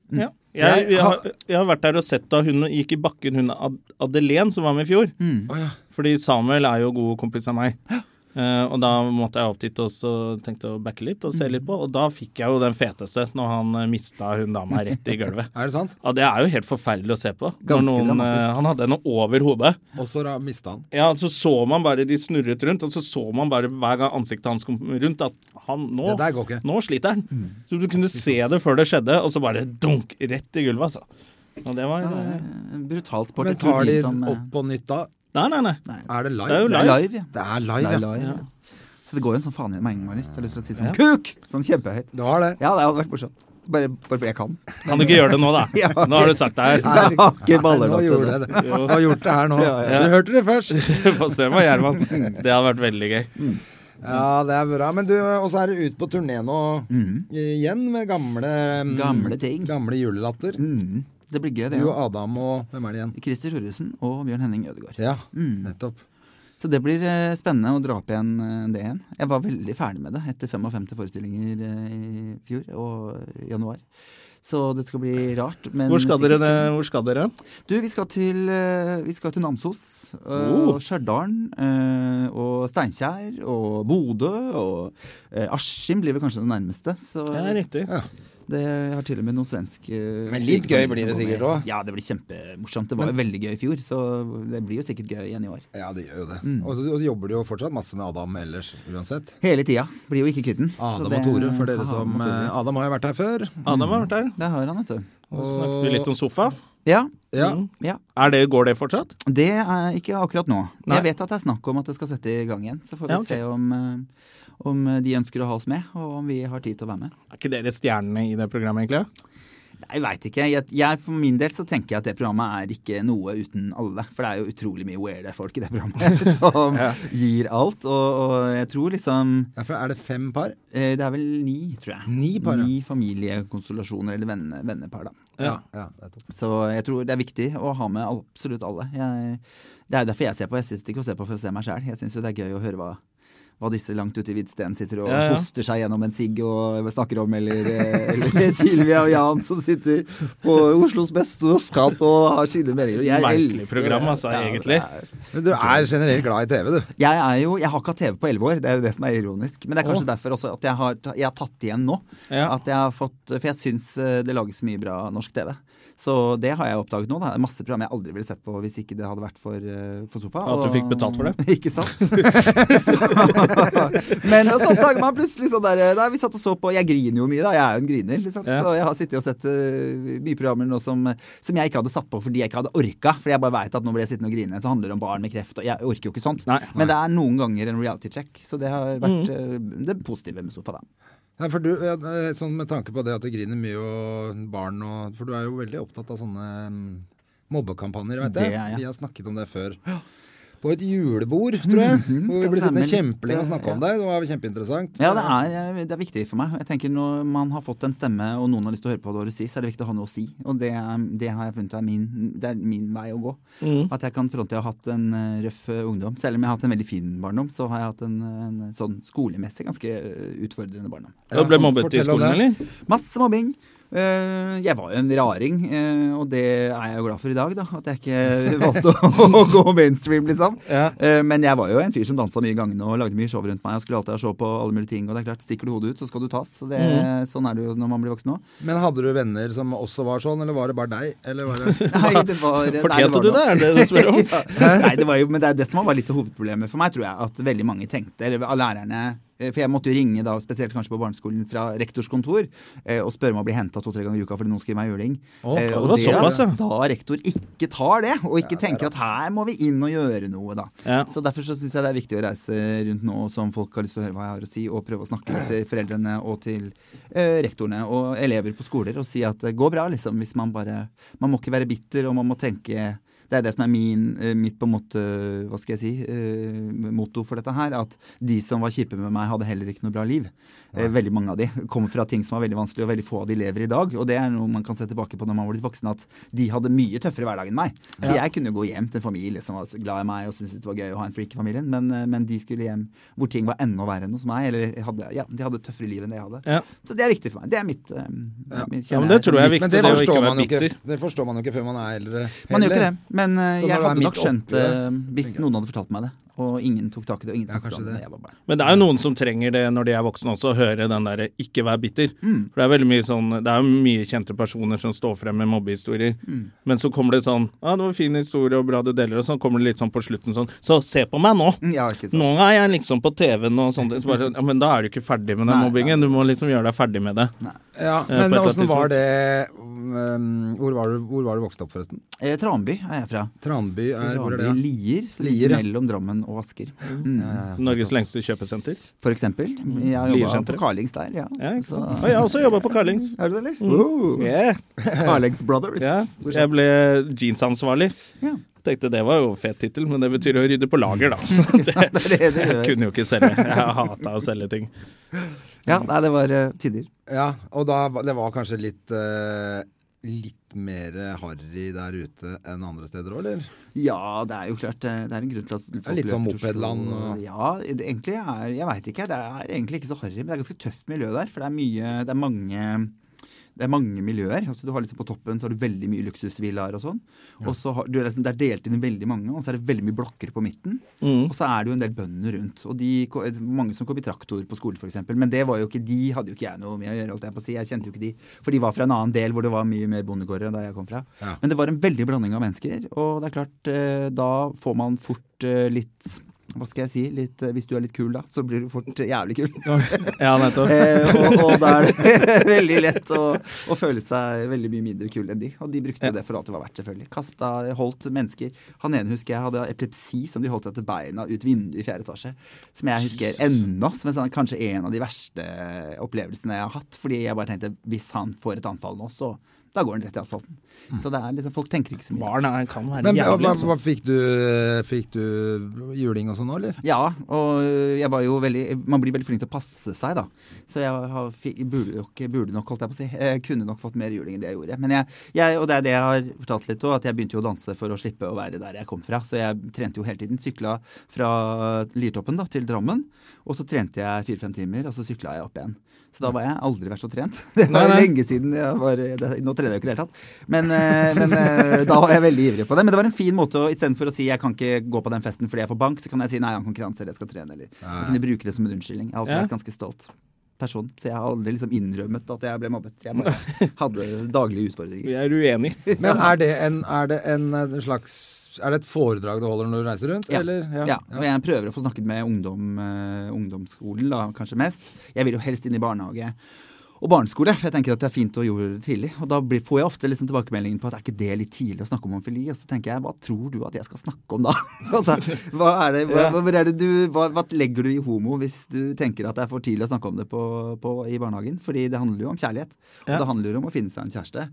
B: Ja. Jeg,
A: Jeg
B: jeg,
A: har-
B: har- jeg har vært der og sett da hun gikk i bakken, hun Ad Adelén som var med i fjor. Fordi Samuel er jo god kompis av meg. Eh, Eh, og da måtte jeg opp dit og så tenkte jeg å backe litt og se litt på, og da fikk jeg jo den feteste når han eh, mista hun dama rett i gulvet.
A: Er det sant?
B: Ja, Det er jo helt forferdelig å se på. Når
C: Ganske
B: noen,
C: dramatisk.
B: eh, han hadde henne over hodet.
A: Og så mista han.
B: Ja, Så så man bare de snurret rundt, og så så man bare hver gang ansiktet hans kom rundt at han nå,
A: Det der går ikke.
B: nå sliter han. Så du kunne se det før det skjedde, og så bare dunk rett i gulvet, altså. Og det var eh,
C: En brutal sport.
A: Men
C: Jeg tror
A: tar de
C: som, eh,
A: opp på nytt da?
B: Nei, nei, nei.
A: Er det live?
B: Det er jo
C: det er live, ja.
A: Det er
C: Det
A: live,
C: er
A: ja.
C: live, ja. Så det går jo en sånn faen i meningsmålist. Jeg har lyst til å si sånn kuk! Sånn kjempehøyt.
A: Du har det.
C: Ja, det hadde vært morsomt. Bare bare fordi jeg kan.
B: Kan du ikke gjøre det nå, da?
C: Ja, ok.
B: Nå har du sagt det her.
C: Jeg har ikke baller
A: nå
C: nok til
A: gjorde jeg
C: det.
A: det. Du har gjort det her nå.
B: ja.
A: Du hørte det først.
B: På Støva Gjerman. Det hadde vært veldig gøy.
A: Ja, det er bra. Men du, og så er du ute på turné nå igjen med gamle mm,
C: Mm. Gamle ting.
A: Gamle julelatter.
C: Mm, det blir gøy, det.
A: Du og
C: Ja.
A: Adam og Hvem er det igjen?
C: Christer Thoresen og Bjørn Henning Ødegaard.
A: Ja,
C: Mm.
A: nettopp.
C: Så det blir eh, spennende å dra opp igjen eh, det igjen. Jeg var veldig ferdig med det etter 55 forestillinger eh, i fjor og i januar. Så det skal bli rart. Men
B: Hvor skal dere?
C: sikkert-
B: det- Hvor skal dere?
C: Du, vi skal til, eh, vi skal til Namsos. eh,
B: Oh.
C: Og Stjørdal. eh, Og Steinkjer. Og Bodø. Og eh, Askim blir vel kanskje det nærmeste. Så
B: Ja, riktig.
C: det har til og med noen svensk eh,
A: Men litt gøy blir det
C: som
A: sikkert
C: kommer.
A: også.
C: Ja, det blir kjempemorsomt. Det var jo veldig gøy i fjor, så det blir jo sikkert gøy igjen i år.
A: Ja, det gjør jo det.
C: Mm.
A: Og så og så jobber du jo fortsatt masse med Adam ellers, uansett.
C: Hele tida. Blir jo ikke kvitt den. så
A: Adam
C: det-
A: og Ah, Tore, for dere
C: Adam
A: som
C: og Tore. Mm.
A: eh, Adam har jo vært her før.
B: Adam har vært der.
C: Det har han, vet du.
B: Og så snakket vi litt om sofa.
C: Ja.
A: Ja.
C: ja.
B: Er det, går det fortsatt?
C: Det er ikke akkurat nå.
B: Nei.
C: Jeg vet at det er snakk om at det skal sette i gang igjen. Så får vi
B: Ja, ok.
C: se om, eh, om de ønsker å ha oss med, og om vi har tid til å være med.
B: Er ikke dere stjernene i det programmet, egentlig?
C: Nei, Jeg veit ikke. Jeg, jeg, for min del så tenker jeg at det programmet er ikke noe uten alle. For det er jo utrolig mye weirde folk i det programmet som gir alt. Og, og jeg tror liksom
A: Ja, for er det fem par?
C: eh, Det er vel ni, tror jeg.
A: Ni par, ja.
C: Ni familiekonstellasjoner eller venne, vennepar, da.
A: Ja. ja nettopp.
C: Så jeg tror det er viktig å ha med all- absolutt alle. Jeg, det er jo derfor jeg ser på. Jeg sitter ikke og ser på for å se meg sjæl. Jeg syns jo det er gøy å høre hva, hva disse langt ute i viddsteen sitter og
B: Ja, ja.
C: hoster seg gjennom en sigg og snakker om, eller, eh, eller Silvia og Jan som sitter på Oslos beste oskant og har sine meninger. Og jeg
B: Merkelig
C: elsker
B: program,
C: det.
B: altså,
C: det
B: egentlig.
C: er-
A: Men du er generelt glad i TV, du.
C: Jeg er jo, jeg har ikke hatt TV på 11 år, det er jo det som er ironisk. Men det er kanskje derfor også at jeg har, ta- jeg har tatt igjen nå.
B: Ja.
C: At jeg har fått, for jeg syns eh, det lages mye bra norsk TV. Så det har jeg oppdaget nå. Da. Det er masse program jeg aldri ville sett på hvis ikke det hadde vært for, eh, for sofa.
B: At du
C: og-
B: fikk betalt for det?
C: ikke sant? så, men så oppdager man plutselig sånn der, eh, nei, Vi satt og så på Jeg griner jo mye, da. Jeg er jo en griner. Liksom.
B: Ja.
C: Så jeg har sittet og sett eh, mye programmer nå som, som jeg ikke hadde satt på fordi jeg ikke hadde orka. Fordi jeg bare veit at nå blir jeg sittende og grine. Så handler det om barn med kreft, og jeg orker jo ikke sånt.
B: Nei.
C: Men det er noen ganger en reality check, så det har vært eh, det positive med sofa, da.
A: Ja, for du, ja, eh, sånn Med tanke på det at du griner mye og barn og For du er jo veldig opptatt av sånne mm, mobbekampanjer, veit
C: Det
A: jeg.
C: er jeg.
A: Vi har snakket om det før. På et julebord, tror jeg. Hvor vi
C: Mhm. kan
A: ble sittende
C: stemme litt,
A: kjempelenge og snakke om deg. Det var kjempeinteressant.
C: Ja, det er, eh, det er viktig for meg. Jeg tenker Når man har fått en stemme, og noen har lyst til å høre på hva du sier, så er det viktig å ha noe å si. Og det, er- det har jeg funnet er min, det er min vei å gå. At jeg kan fronte at jeg har hatt en eh, røff eh, ungdom. Selv om jeg har hatt en veldig fin barndom, så har jeg hatt en, en sånn skolemessig ganske eh, utfordrende barndom.
B: Du ble mobbet i
A: fortell om
B: skolen,
A: det.
B: eller?
C: Masse mobbing. Eh, jeg var jo en raring, eh, og det er jeg jo glad for i dag, da. At jeg ikke valgte å, å gå mainstream, liksom.
B: Ja.
C: Eh, men jeg var jo en fyr som dansa mye i gangene og lagde mye show rundt meg. Og skulle alltid ha show på alle mulige ting. Og det er klart, stikker du hodet ut, så skal du tas. Så det,
B: Mhm.
C: Sånn er det jo når man blir voksen òg.
A: Men hadde du venner som også var sånn, eller var det bare deg? Eller var det
C: Nei, det var, nei, det
B: Fortjente
C: var
B: du
C: nok-
B: det, er det du spør om?
C: Nei, det var jo, men det er det som var litt av hovedproblemet for meg, tror jeg. At veldig mange tenkte, eller av lærerne eh, For jeg måtte jo ringe, da, spesielt kanskje på barneskolen, fra rektors kontor eh, og spørre om å bli henta to-tre ganger i uka fordi noen skriver meg juling.
B: Å,
C: Eh,
B: det
C: og
B: var såpass, ja.
C: Da rektor ikke tar det, og ikke tenker at her må vi inn og gjøre noe, da.
B: Ja.
C: Så derfor så syns jeg det er viktig å reise rundt nå som folk har lyst til å høre hva jeg har å si, og prøve å snakke til foreldrene og til eh, rektorene og elever på skoler og si at det går bra, liksom, hvis man bare Man må ikke være bitter, og man må tenke det er det som er min, eh, mitt på en måte, hva skal jeg si, eh, motto for dette her. At de som var kjipe med meg, hadde heller ikke noe bra liv. Eh, Veldig mange av de kommer fra ting som var veldig vanskelig, og veldig få av de lever i dag. Og det er noe man kan se tilbake på når man var blitt voksen, at de hadde mye tøffere hverdag enn meg. Jeg kunne jo gå hjem til en familie som var så glad i meg og syntes det var gøy å ha en freak i familien, men, eh, men de skulle hjem hvor ting var enda verre enn hos meg. Eller hadde, ja, de hadde tøffere liv enn det jeg hadde.
B: Ja.
C: Så det er viktig for meg. Det er mitt eh,
A: Ja.
C: mitt-
B: Ja, men det tror jeg er
A: Men
B: viktig,
A: det
B: det å
A: forstår
B: ikke
A: man
B: være
A: jo ikke,
B: bitter.
A: det forstår man jo ikke før man er eldre.
C: Man gjør
A: heller.
C: ikke det. Men eh,
A: Så når
C: jeg
A: du er
C: hadde
A: midt
C: nok skjønt
A: oppi
C: det
A: det,
C: hvis
A: tenker jeg.
C: noen hadde fortalt meg det. Og ingen tok tak i det. og ingen
A: Ja,
C: tok tak
A: kanskje
C: i det.
A: det.
C: Jeg var bare,
B: Men det er jo noen som trenger det når de er voksne også, å høre den derre 'ikke vær bitter'.
C: Mm.
B: For det er veldig mye sånn Det er jo mye kjente personer som står frem med mobbehistorier.
C: Mm.
B: Men så kommer det sånn 'Ja, det var en fin historie, og bra du deler', og så kommer det litt sånn på slutten sånn 'Så se på meg nå'.
C: Mm, ja, ikke sant.
B: Nå er jeg liksom på TV-en og sånt. Så bare, sånn, ja, men da er du ikke ferdig med den
C: Nei,
B: mobbingen. Du må liksom gjøre deg ferdig med det.
A: Ja,
B: Eh, på
A: men
B: et eller
A: åssen
B: annet
A: var det um, hvor, var du, hvor var du vokst opp, forresten?
C: Eh, Tranby er jeg fra.
A: Tranby er Hvor er det?
C: Tranby Lier, så
A: Lier,
C: ligger
A: ja.
C: mellom Drammen og Asker. Mm.
B: Norges lengste kjøpesenter.
C: For eksempel. Jeg har jobba
B: Liersenteret.
C: på Carlings der, ja.
B: Ja, ikke
C: Så- Oh.
B: sant? Og jeg har også jobba på Carlings.
C: Er du det, eller? Wow.
B: Yeah.
C: Carlings Brothers.
B: Ja, jeg ble jeansansvarlig.
C: Ja.
B: Tenkte det var jo fet tittel, men det betyr å rydde på lager, da. Så det,
C: det er det det
B: jeg
C: gjør.
B: kunne jo ikke selge. Jeg hata å selge ting.
C: Ja, nei, det var eh, tider.
A: Ja, og da, var- det var kanskje litt eh, Litt mer harry der ute enn andre steder òg, eller?
C: Ja, det er jo klart. eh, Det er en grunn til at folk
A: litt sånn
C: løper til Oslo.
A: mopedland og-
C: Ja, det egentlig er Jeg veit ikke. Det er egentlig ikke så harry, men det er ganske tøft miljø der. For det er mye Det er mange det er mange miljøer. altså du har liksom På toppen så har du veldig mye luksusvillaer og sånn. Og så har, du, er liksom, Det er delt inn i veldig mange, og så er det veldig mye blokker på midten. Og så er det jo en del bønder rundt. Og de, ko- eh, Mange som kom i traktor på skolen, f.eks. Men det var jo ikke de hadde jo ikke jeg noe med å gjøre. holdt Jeg på å si, jeg kjente jo ikke de, For de var fra en annen del hvor det var mye mer bondegårder enn der jeg kom fra.
A: Ja.
C: Men det var en veldig blanding av mennesker. Og det er klart, eh, da får man fort eh, litt hva skal jeg si? Litt, eh, hvis du er litt kul, da, så blir du fort eh, jævlig kul.
B: Ja, nettopp.
C: Eh, og, og da er det veldig lett å, å føle seg veldig mye mindre kul enn de. Og de brukte jo det for alt det var verdt, selvfølgelig. Kasta, holdt mennesker. Han ene husker jeg hadde epilepsi som de holdt etter beina ut vinduet i fjerde etasje. Som jeg husker ennå som en sånn, kanskje en av de verste opplevelsene jeg har hatt. Fordi jeg bare tenkte hvis han får et anfall nå, så da går han rett i asfalten. Så det er liksom, folk tenker ikke så mye.
B: Barn er, kan være
A: Men hva,
B: jævlig,
A: hva,
B: altså.
A: hva fikk du Fikk du juling og sånn nå, eller?
C: Ja, og øh, jeg var jo veldig Man blir veldig flink til å passe seg, da. Så jeg har, fi- burde, nok, burde nok, holdt jeg på å si. Jeg kunne nok fått mer juling enn det jeg gjorde. Men jeg, jeg, og det er det jeg har fortalt litt òg, at jeg begynte jo å danse for å slippe å være der jeg kom fra. Så jeg trente jo hele tiden. Sykla fra Liertoppen da, til Drammen. Og så trente jeg fire-fem timer, og så sykla jeg opp igjen. Så da var jeg aldri vært så trent. Det var
B: Nei, nei.
C: lenge siden. Jeg var, det, nå trener jeg jo ikke i det hele tatt. Men, eh, men eh, da var jeg veldig ivrig på det. Men det var en fin måte å istedenfor å si jeg kan ikke gå på den festen fordi jeg får bank, så kan jeg si nei, jeg har en konkurranse eller jeg skal trene. Eller
A: Ja, ja.
C: jeg kunne bruke det som en unnskyldning. Jeg har alltid
B: Ja.
C: vært ganske stolt person, så jeg har aldri liksom innrømmet at jeg ble mobbet. Jeg bare hadde daglige utfordringer.
B: Jeg er uenig.
A: Men er det en, er det en, en slags Er det et foredrag du holder når du reiser rundt, eller?
C: Ja. og jeg prøver å få snakket med ungdom, eh, ungdomsskolen da, kanskje mest. Jeg vil jo helst inn i barnehage og barneskole, for jeg tenker at det er fint å gjøre det tidlig. Og da blir, får jeg ofte liksom tilbakemeldingen på at er ikke det litt tidlig å snakke om homofili? Og så tenker jeg, hva tror du at jeg skal snakke om da? altså, hva er det, hva,
A: Ja.
C: hvor er det du, hva, hva legger du i homo hvis du tenker at det er for tidlig å snakke om det på, på, i barnehagen? Fordi det handler jo om kjærlighet. Og
B: Ja.
C: det handler jo om å finne seg en kjæreste.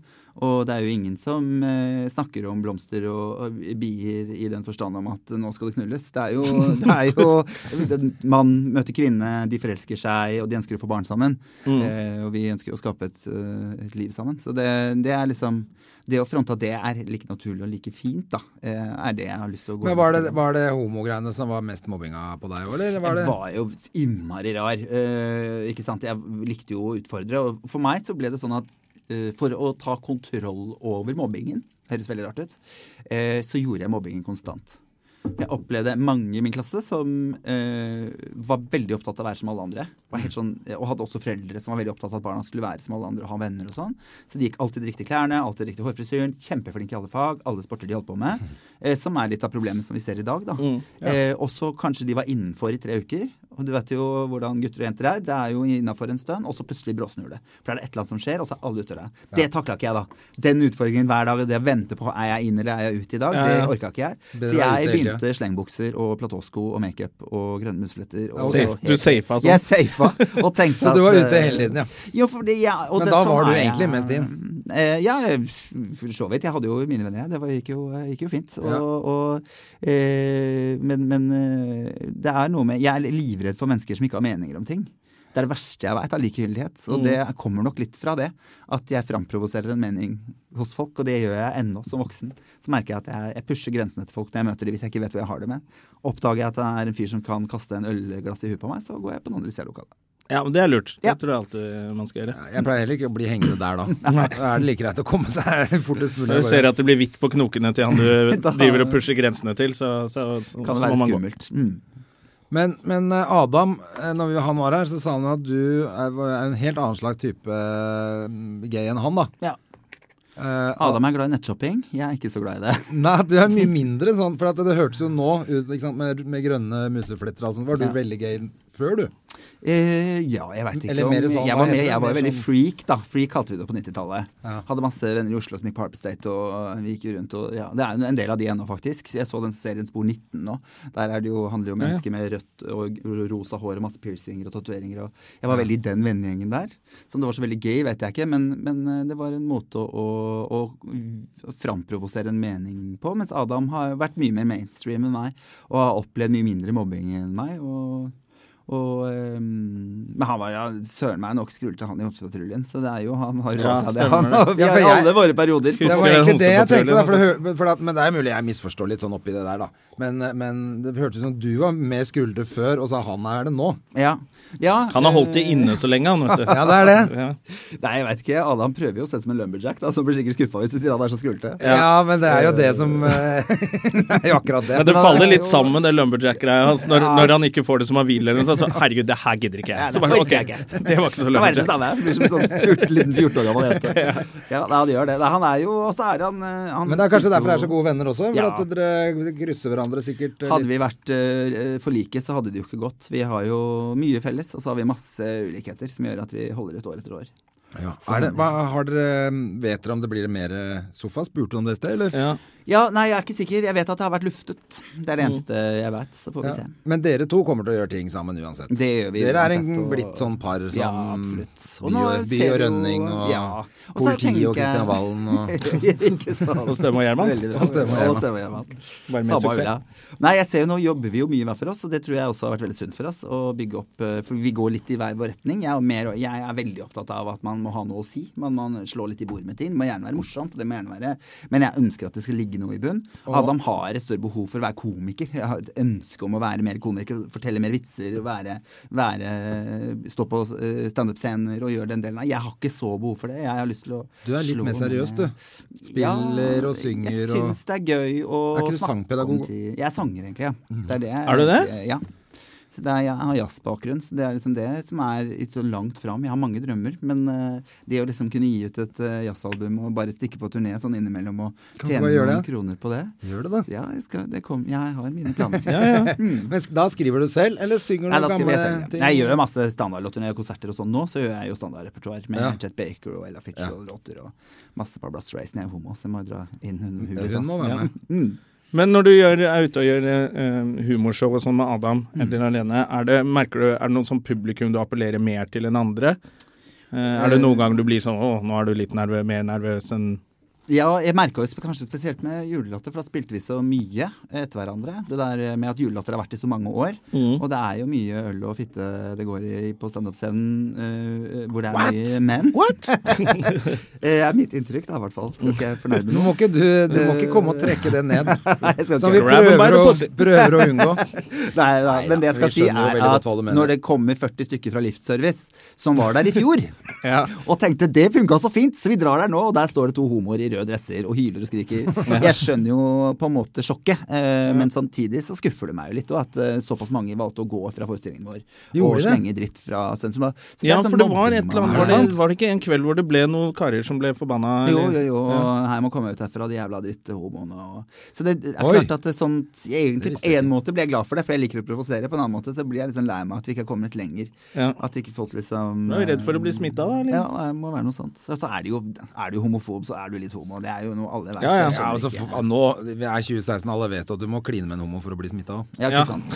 C: Og det er jo ingen som eh, snakker om blomster og, og bier i den forstand om at nå skal det knulles. Det er jo, det er jo Mann møter kvinne, de forelsker seg, og de ønsker å få barn sammen.
A: Mm.
C: Eh, og vi ønsker å skape et, eh, et liv sammen. Så det, det er liksom Det å fronte at det er like naturlig og like fint, da, eh, er det jeg har lyst til å gå
A: Men
C: inn
A: var
C: på.
A: det, var det homogreiene som var mest mobbinga på deg òg, eller? Var det?
C: Jeg var jo innmari rar. eh, ikke sant? Jeg likte jo å utfordre. Og for meg så ble det sånn at eh, for å ta kontroll over mobbingen, høres veldig rart ut, eh, så gjorde jeg mobbingen konstant. Jeg opplevde mange i min klasse som eh, var veldig opptatt av å være som alle andre. Var helt sånn, og hadde også foreldre som var veldig opptatt av at barna skulle være som alle andre og ha venner og sånn. Så de gikk alltid de riktige klærne, alltid riktig hårfrisyren, kjempeflinke i alle fag, alle sporter de holdt på med. Eh, som er litt av problemet som vi ser i dag, da.
B: Mm,
C: eh, også kanskje de var innenfor i tre uker. Og du vet jo hvordan gutter og jenter er. Det er jo innafor en stund, og så plutselig bråsnur det. For da er det et eller annet som skjer, og så er alle ute av det. Det takla ikke jeg, da. Den utfordringen hver dag, og det å vente på er jeg inn eller er jeg ute i dag,
B: Ja, ja.
C: det orka ikke jeg.
A: Bedre
C: Så
A: å være
C: jeg
A: ute hele tida.
C: begynte slengbukser og platåsko og makeup og grønne musfletter. Og
A: Safe-
C: og helt-
B: du safa sånn.
C: Jeg safa. Og tenkte
A: Så du var
C: at,
A: ute
C: eh,
A: hele tiden, ja.
C: Jo, fordi jeg, og
A: Men
C: det,
A: da
C: sånn
A: var du
C: er
A: egentlig
C: jeg.
A: mest din.
C: Eh, ja, for så vidt. Jeg hadde jo mine venner, jeg. Det var, gikk, jo, eh, gikk jo fint. Og,
A: Ja.
C: og, eh, men men eh, det er noe med Jeg er livredd for mennesker som ikke har meninger om ting. Det er det verste jeg veit, er likegyldighet. Og det
A: Mm.
C: kommer nok litt fra det. At jeg framprovoserer en mening hos folk, og det gjør jeg ennå som voksen. Så merker jeg at jeg, jeg pusher grensene til folk når jeg møter dem hvis jeg ikke vet hvor jeg har det med. Oppdager jeg at det er en fyr som kan kaste en ølglass i huet på meg, så går jeg på den andre sida av lokalet.
B: Ja, men det er lurt.
C: Ja.
B: Det tror jeg alltid man skal gjøre.
A: Jeg pleier heller ikke å bli hengende der da. Da er det like greit å komme seg fortest mulig.
B: Når du ser at det blir hvitt på knokene til han du
C: Da-
B: driver og pusher grensene til, så, så, så,
C: Kan
B: så må
C: det være
B: man gå.
C: skummelt. Mm.
A: Men, men eh, Adam, eh, når vi- han var her, så sa han at du er er en helt annen slags type eh, gay enn han, da.
C: Ja.
A: Eh,
C: Adam er glad i nettshopping. Jeg er ikke så glad i det.
A: Nei, du er mye mindre sånn, for at det hørtes jo nå ut ikke sant, med, med grønne musefletter og alt sånt. Var du
C: Ja.
A: veldig gay før, du?
C: Eh, ja, jeg veit ikke
A: Eller
C: om
A: mer sånn,
C: Jeg
A: hva
C: var,
A: heter
C: med,
A: det?
C: jeg var
A: Mer
C: veldig
A: sånn-
C: freak, da. Freak kalte vi det på 90-tallet.
A: Ja.
C: Hadde masse venner i Oslo som gikk på Harper State, og vi gikk jo rundt og ja, Det er jo en del av de ennå, faktisk. Jeg så den serien Spor 19 nå. Der er det jo, handler det jo om
B: Ja, ja.
C: mennesker med rødt og rosa hår og masse piercinger og tatoveringer. Og jeg var veldig i den vennegjengen der. Så om det var så veldig gay, vet jeg ikke, men, men eh, det var en måte å, å, å framprovosere en mening på. Mens Adam har vært mye mer mainstream enn meg, og har opplevd mye mindre mobbing enn meg. og og, eh, men han var ja, søren meg nok skrullete, han i Hopsepatruljen. Så det er jo han har råd
B: Ja,
C: til det,
B: stemmer
C: han.
B: det.
C: Og vi
A: Ja, for
C: har
A: jeg-
C: alle våre perioder.
B: Husker
A: Det var
B: jeg
A: egentlig det jeg
B: homsepatruljen,
A: tenkte, da, for det, hø- for at, men det er mulig jeg misforstår litt sånn oppi det der, da. Men, eh, men det hørtes ut som du var mer skuldre før, og så han er det nå.
C: Ja. ja.
B: Han har holdt det
C: eh,
B: inne så lenge, han, vet du.
A: Ja, det er det.
B: Ja.
C: Nei, jeg veit ikke. Adam prøver jo å se ut som en lumberjack, da, så han blir sikkert skuffa hvis du sier han er så skrullete.
A: Ja, men det er jo det som eh, Det er jo akkurat det.
B: Men det
A: Men han er
B: faller litt
A: jo-
B: sammen, det lumberjack-greia hans. Når, når han ikke får det som han vil, eller noe sånt. Så, herregud, det her gidder ikke jeg. Så bare,
C: det
B: ok,
C: orker jeg ikke.
B: det var ikke så
C: Det er verre
B: lumberjack.
C: stamme. Blir som en sånn 14, liten 14 år gammel jente. Ja, nei, han gjør det. Nei, han er jo Og så er han, eh, han
A: Men det er kanskje
C: synes
A: derfor dere er
C: jo-
A: så gode venner også? For
C: Ja.
A: at dere krysser hverandre sikkert eh,
C: Hadde
A: litt.
C: vi vært eh, forliket, så hadde det jo ikke gått. Vi har jo mye felles, og så har vi masse ulikheter som gjør at vi holder ut år etter år.
A: Er det, hva, har dere, vet dere om det blir mer eh, sofa? Spurte du om det i sted, eller?
B: Ja.
C: Ja, nei, jeg er ikke sikker. Jeg vet at det har vært luftet. Det er det eneste jeg vet. Så får vi
A: Mm. Ja.
C: se.
A: Men dere to kommer til å gjøre ting sammen uansett.
C: Det gjør vi.
A: Dere er en,
C: uansett, og-
A: blitt sånn par som
C: Ja, absolutt.
A: by, og, by og
C: ser vi jo-
A: Rønning og
C: ja. Og så
A: politi
C: tenker
A: og
C: jeg-
A: Kristian Valen og
C: ikke sant.
B: Og Støme og Gjerman.
C: Veldig bra.
A: Og Støme og Gjerman.
C: Og Støme og Gjerman.
B: Bare mer
C: Samme
B: suksess.
C: øla. Nei, jeg ser jo nå jobber vi jo mye hver for oss, og det tror jeg også har vært veldig sunt for oss. Å bygge opp, eh, for Vi går litt i hver vår retning. Jeg er, mer, jeg er veldig opptatt av at man må ha noe å si. Man må slå litt i bordet med ting. Det må gjerne være morsomt, og det må gjerne være Men jeg ønsker at det skal ligge noe i bunn. Adam har et større behov for å være komiker. Jeg har et ønske om å være mer komiker, fortelle mer vitser, være, være stå på eh, standup-scener og gjøre den delen. Nei, jeg har ikke så behov for det. Jeg har lyst til å
A: Du er litt
C: slå
A: mer seriøs,
C: ned.
A: du. Spiller og synger
C: Jeg
A: og-
C: syns det er gøy å
A: Er ikke du
C: snakke om
A: sangpedagog? Mhm.
C: ting. Jeg er sanger, egentlig, ja. Det er, det jeg-
B: Er du det?
C: Ja. Så det er, jeg har jazzbakgrunn, så det er liksom det som er litt så langt fram. Jeg har mange drømmer, men eh, det å liksom kunne gi ut et eh, jazzalbum og bare stikke på turné sånn innimellom og
A: Kan du
C: tjene
A: bare gjøre
C: noen
A: det?
C: kroner på det
A: Gjør det, da.
C: Ja, jeg, skal, det kom, jeg har mine planer.
A: Men s- da skriver du selv, eller synger
C: Mm. Nei,
A: du
C: da skriver
A: gamle
C: jeg selv. ja.
A: ting?
C: Nei, jeg gjør masse standardlåter når jeg gjør konserter og sånn nå, så gjør jeg jo standardrepertoar med
A: Ja.
C: Chet Baker og Ella Fitzgerald-låter og masse Barbra Streisand. Jeg er homo, så jeg må jo dra inn hun hun litt, da.
A: Hun må være med.
C: Mm.
B: Men når du gjør, er ute og gjør eh, humorshow og sånn med Adam eller alene, er det, merker du, er det noen sånn publikum du appellerer mer til enn andre? Eh, er det noen gang du blir sånn 'Å, nå er du litt nervø mer nervøs enn
C: Ja, jeg merka jo sp- kanskje spesielt med julelatter, for da spilte vi så mye etter hverandre. Det der med at julelatter har vært i så mange år.
A: Mm.
C: Og det er jo mye øl og fitte det går i på standup-scenen eh, hvor det er mye menn. What? Det er mitt inntrykk, da, i hvert fall. Skal ikke jeg fornærme
A: Nå
C: noen.
A: må ikke du, du må ikke komme og trekke det ned,
C: Nei, jeg skal
A: som
C: ikke-
A: vi
B: Grab 'em by
A: prøver
B: the
A: å,
B: pussy.
A: prøver å unngå.
C: Nei, nei, men det jeg
A: vi
C: skal si
A: skjønner jo
C: er
A: veldig godt
C: at
A: hva du mener.
C: når det kommer 40 stykker fra Liftservice, som var der i fjor,
B: Ja.
C: og tenkte 'det funka så fint', så vi drar der nå, og der står det to homoer i røde dresser og hyler og skriker. Jeg skjønner jo på en måte sjokket, eh, men samtidig så skuffer det meg jo litt òg at eh, såpass mange valgte å gå fra forestillingen vår og
A: Gjorde de det?
C: slenge dritt fra sånn som var- så er
B: Ja,
C: sånn
B: for det var
C: mobbing
B: et eller annet
C: man-
B: var
C: Er
B: det,
C: sant?
B: var det ikke en kveld hvor det ble noen karer som ble forbanna?
C: Jo, jo,
B: eller?
C: jo. Her må komme ut herfra, de jævla dritthomoene og Så det er
A: Oi.
C: klart at det er sånt jeg Egentlig på en måte blir jeg glad for det, for jeg liker å provosere. På en annen måte så blir jeg litt sånn lei meg at vi ikke har kommet lenger.
B: Ja.
C: At ikke folk liksom
B: Du er jo redd for å bli smittet da, eller?
C: Ja, det må være noe sånt. Så, så er det jo Er du homofob, så er du litt homo. Det er jo noe alle vet.
B: Ja, ja.
A: Ja,
C: så jeg skjønner
A: altså,
C: ikke.
A: f- nå, vi er 2016, alle vet at du må kline med en homo for å bli smitta òg.
C: Ja,
B: Ja.
C: ikke sant.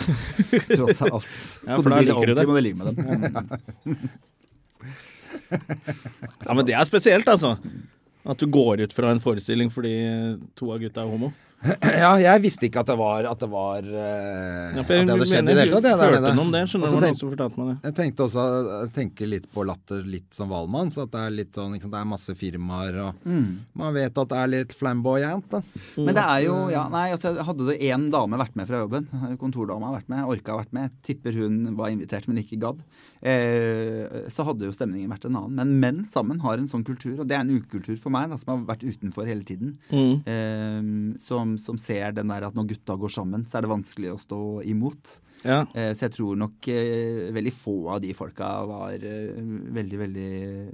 C: Tross alt. Skal
B: for
C: du
B: da
C: bli det
B: liker du det.
C: ordentlig, må du ligge med dem.
B: Ja, men det er spesielt, altså. At du går ut fra en forestilling fordi to av gutta er homo.
A: Ja, jeg visste ikke at det var At det, var, eh,
B: Ja,
A: at
B: for jeg
A: det hadde skjedd i det hele tatt. jeg, der
B: hørte
A: nede.
B: noe om det, skjønner du.
A: Og så
B: Det var
A: tenkte-
B: noen som fortalte meg det.
A: Jeg tenkte også, jeg tenker litt på latter litt som Valmann, så at det er litt sånn, ikke sant, det er masse firmaer, og
C: Mm.
A: man vet at det er litt flamboyant, da.
C: Men det er jo ja, Nei, altså, hadde det én dame vært med fra jobben, kontordama har vært med, orka har vært med, tipper hun var invitert, men ikke gadd, eh, så hadde jo stemningen vært en annen. Men menn sammen har en sånn kultur, og det er en ukultur for meg, da, som har vært utenfor hele tiden. Eh, som, som ser den der at når gutta går sammen, så er det vanskelig å stå imot.
B: Ja.
C: Eh, Så jeg tror nok eh, veldig få av de folka var eh, veldig, veldig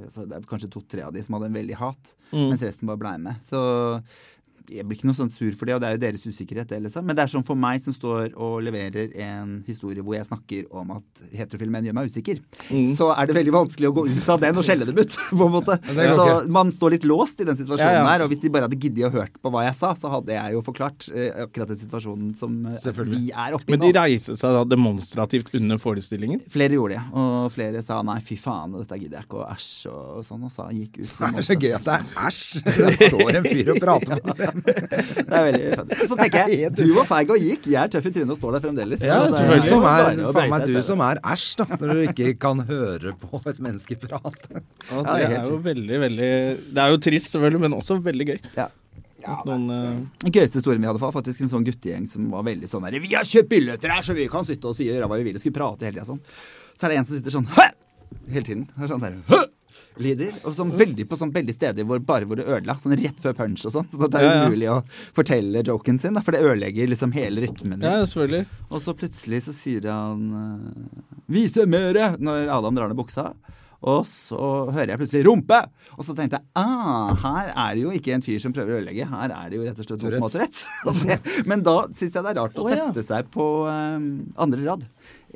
C: altså Det er kanskje to-tre av de som hadde en veldig hat,
B: Mm.
C: mens resten bare blei med. Så jeg blir ikke noe sånn sur for det, og det er jo deres usikkerhet, det, liksom. Men det er sånn for meg som står og leverer en historie hvor jeg snakker om at heterofile menn gjør meg usikker,
B: Mm.
C: så er det veldig vanskelig å gå ut av den og skjelle dem ut, på en måte.
A: det er
C: Så
A: ok.
C: man står litt låst i den situasjonen
B: Ja, ja.
C: her, og hvis de bare hadde giddet å hørt på hva jeg sa, så hadde jeg jo forklart eh, akkurat den situasjonen som eh,
A: Selvfølgelig.
C: vi er oppe i
B: Men de
C: nå.
B: reiste seg da demonstrativt under forestillingen?
C: Flere gjorde det, og flere sa nei, fy faen, dette gidder jeg ikke, og æsj og sånn, og sa gikk ut.
A: Det er så gøy at det er æsj! Der står en fyr og prater på scenen.
C: Det er veldig fett. Så tenker jeg, du var feig og gikk, jeg er tøff i trynet og står der fremdeles.
A: Ja,
C: så det-
B: selvfølgelig.
A: Som er,
C: Bare å
A: faen
C: bøye
A: meg
C: seg
A: du
C: i stedet.
A: som er æsj, da, når du ikke kan høre på et menneske prate.
B: Ja,
C: Ja,
B: det
C: det er
B: er
C: helt
B: jo veldig, veldig Det er jo trist, selvfølgelig, men også veldig gøy.
C: Ja.
B: At noen, eh,
C: Den gøyeste historien vi hadde, var faktisk en sånn guttegjeng som var veldig sånn der, Vi har kjøpt billetter her, så vi kan sitte og si hva vi vil, og skulle prate hele tida sånn. Så er det en som sitter sånn Hæ! hele tiden. Det er Sånn der, Hæ! lyder, og sånn veldig på sånn veldig steder hvor bare hvor det ødela. Sånn rett før punch og sånn. Så det
B: Ja,
C: er
B: ja.
C: umulig å fortelle joken sin, da, for det ødelegger liksom hele rytmen. din.
B: eh, ja, selvfølgelig.
C: Og så plutselig så sier han eh, 'Vise mere!' når Adam drar ned buksa. Og så hører jeg plutselig 'rumpe'! Og så tenkte jeg ah, her er det jo ikke en fyr som prøver å ødelegge, her er det jo rett og slett noen som har Tourettes. Og det- Men da syns jeg det er rart å
B: Å, ja.
C: sette seg på eh, andre rad.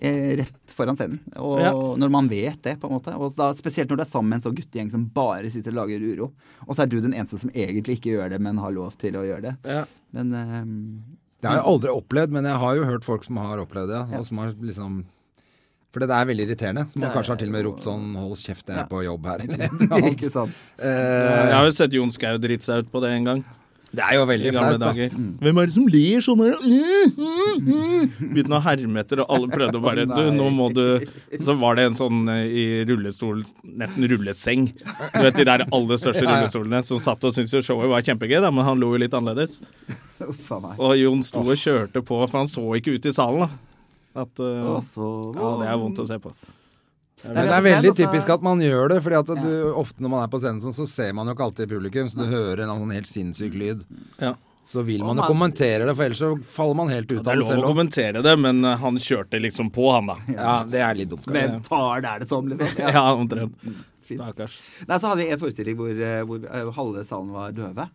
C: eh, Rett foran scenen. Og
B: Ja.
C: når man vet det, på en måte. Og da, spesielt når det er sammen med en sånn guttegjeng som bare sitter og lager uro. Og så er du den eneste som egentlig ikke gjør det, men har lov til å gjøre det.
B: Ja.
C: Men eh,
A: Det har jeg aldri opplevd, men jeg har jo hørt folk som har opplevd det. Og som har liksom For det er veldig irriterende. Som
C: Det er
A: kanskje har til og med
C: jo-
A: ropt sånn 'hold kjeft, jeg
C: Ja.
A: er på jobb her', eller et eller annet.
C: Ikke sant.
B: Jeg
A: Eh,
B: har jo sett Jon Skau drite seg ut på det en gang.
A: det er jo
B: I
A: veldig
B: gamle
A: flaut, da.
B: dager. Hvem er det som ler sånn her? Begynte å herme etter, og alle prøvde å bare Du, nå må du Så var det en sånn eh, i rullestol, nesten rulleseng. Du vet de der aller største rullestolene som satt og syntes jo showet var kjempegøy, da, men han lo jo litt annerledes.
C: Uff a meg.
B: Og Jon sto og kjørte på, for han så ikke ut i salen, da. At, eh,
C: Og så-
B: ja, det er vondt å se på.
A: Men det er
C: Men
A: veldig
C: altså-
A: typisk at man gjør det, fordi at du, ofte når man er på scenen sånn, så ser man jo ikke alltid publikum, så du hører en annen helt sinnssyk lyd.
B: Ja.
A: Så vil
C: Og
A: man jo
C: man-
A: kommentere det, for ellers så faller man helt ut
B: Det
A: av
B: er
A: det
B: lov å
A: selv. også.
B: kommentere det, men eh, han kjørte liksom på, han da.
A: Ja, det er litt dumt. kanskje.
C: Hvem tar det, er det som, liksom?
B: Ja, omtrent.
C: fint.
B: Stakkars.
C: Nei, så hadde vi en forestilling hvor, eh, hvor eh, halve salen var døve.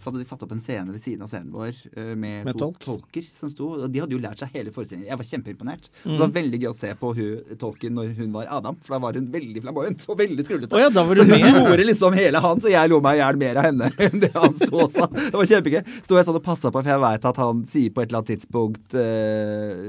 C: Så hadde de satt opp en scene ved siden av scenen vår eh, med,
B: Med
C: to
B: tolk.
C: tolker som sto. Og de hadde jo lært seg hele forestillingen. Jeg var kjempeimponert.
B: Mm.
C: Det var veldig gøy å se på hun, tolken når hun var Adam, for da var hun veldig flamboyant og veldig skrullete.
B: Å ja, da var
C: så
B: du med.
C: hun gjorde liksom hele han, så jeg lo meg i hjel mer av henne enn det han sto og sa. Det var kjempegøy. Sto jeg sånn og passa på, for jeg veit at han sier på et eller annet tidspunkt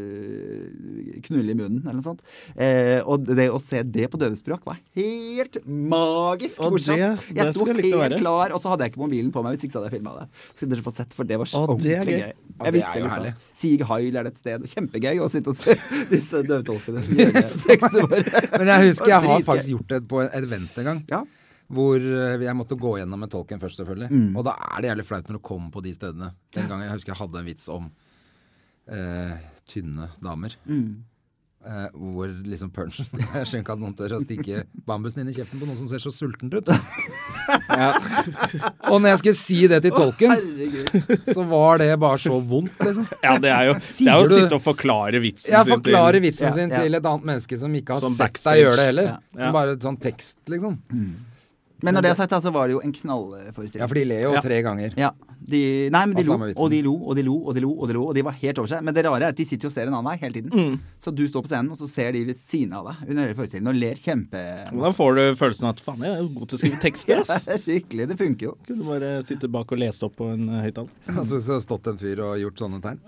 C: eh, knulle i munnen, eller noe sånt. Eh, og det å se det på døvespråk var helt magisk
B: Og
C: morsomt.
B: det- det
C: jeg sto
B: skulle jeg
C: helt
B: likt å være.
C: klar, og så hadde jeg ikke mobilen på meg hvis ikke så hadde jeg filma det. Så kunne dere fått sett, for det var så
B: Å, det er gøy.
C: ordentlig gøy.
A: Ja,
C: Jeg
A: det er
C: visste
A: jo herlig.
C: liksom Sig Heil er det et sted. Kjempegøy å sitte og se disse døvetolkene gjøre tekstene våre.
A: Men jeg husker jeg har
C: Dritgøy.
A: faktisk gjort det på et event en gang.
C: Ja.
A: Hvor eh, jeg måtte gå gjennom med tolken først, selvfølgelig. Og da er det jævlig flaut når du kommer på de stedene. Den gangen jeg husker jeg hadde en vits om eh, tynne damer. Eh, hvor liksom punchen Jeg skjønner ikke at noen tør å stikke bambusen inn i kjeften på noen som ser så sultent ut. Og når jeg skulle si det til tolken,
C: Herregud.
A: så var det bare så vondt, liksom.
B: Ja, det er jo, det er jo
A: Sier
B: å
A: du-
B: sitte og forklare vitsen
A: Jeg
B: sin til-
A: forklarer vitsen
C: Ja,
A: sin
C: ja.
A: til et annet menneske som ikke har
B: Sånn
A: sett
B: backstage.
A: seg gjøre det heller.
C: Ja,
B: ja.
A: Som bare sånn tekst, liksom.
C: Men når det er sagt, da, så var det jo en knallforestilling.
A: Ja, for de ler jo
B: Ja.
A: tre ganger.
C: Ja. De, nei, men de
A: Av
C: lo,
A: samme vitsen.
C: og de lo, og de lo, og de lo, og de lo, og de var helt over seg. Men det rare er at de sitter jo og ser en annen vei hele tiden.
A: Mm.
C: Så du står på scenen, og så ser de ved siden av deg under hele forestillingen og ler kjempe...
B: Da får du følelsen av at faen, jeg er jo god til å skrive tekster,
C: Ja,
B: ass.
C: det er skikkelig. Det funker jo.
B: Kunne bare sitte bak og lese opp på en eh, høyttaler.
A: Altså, så har stått en fyr og gjort sånne tegn.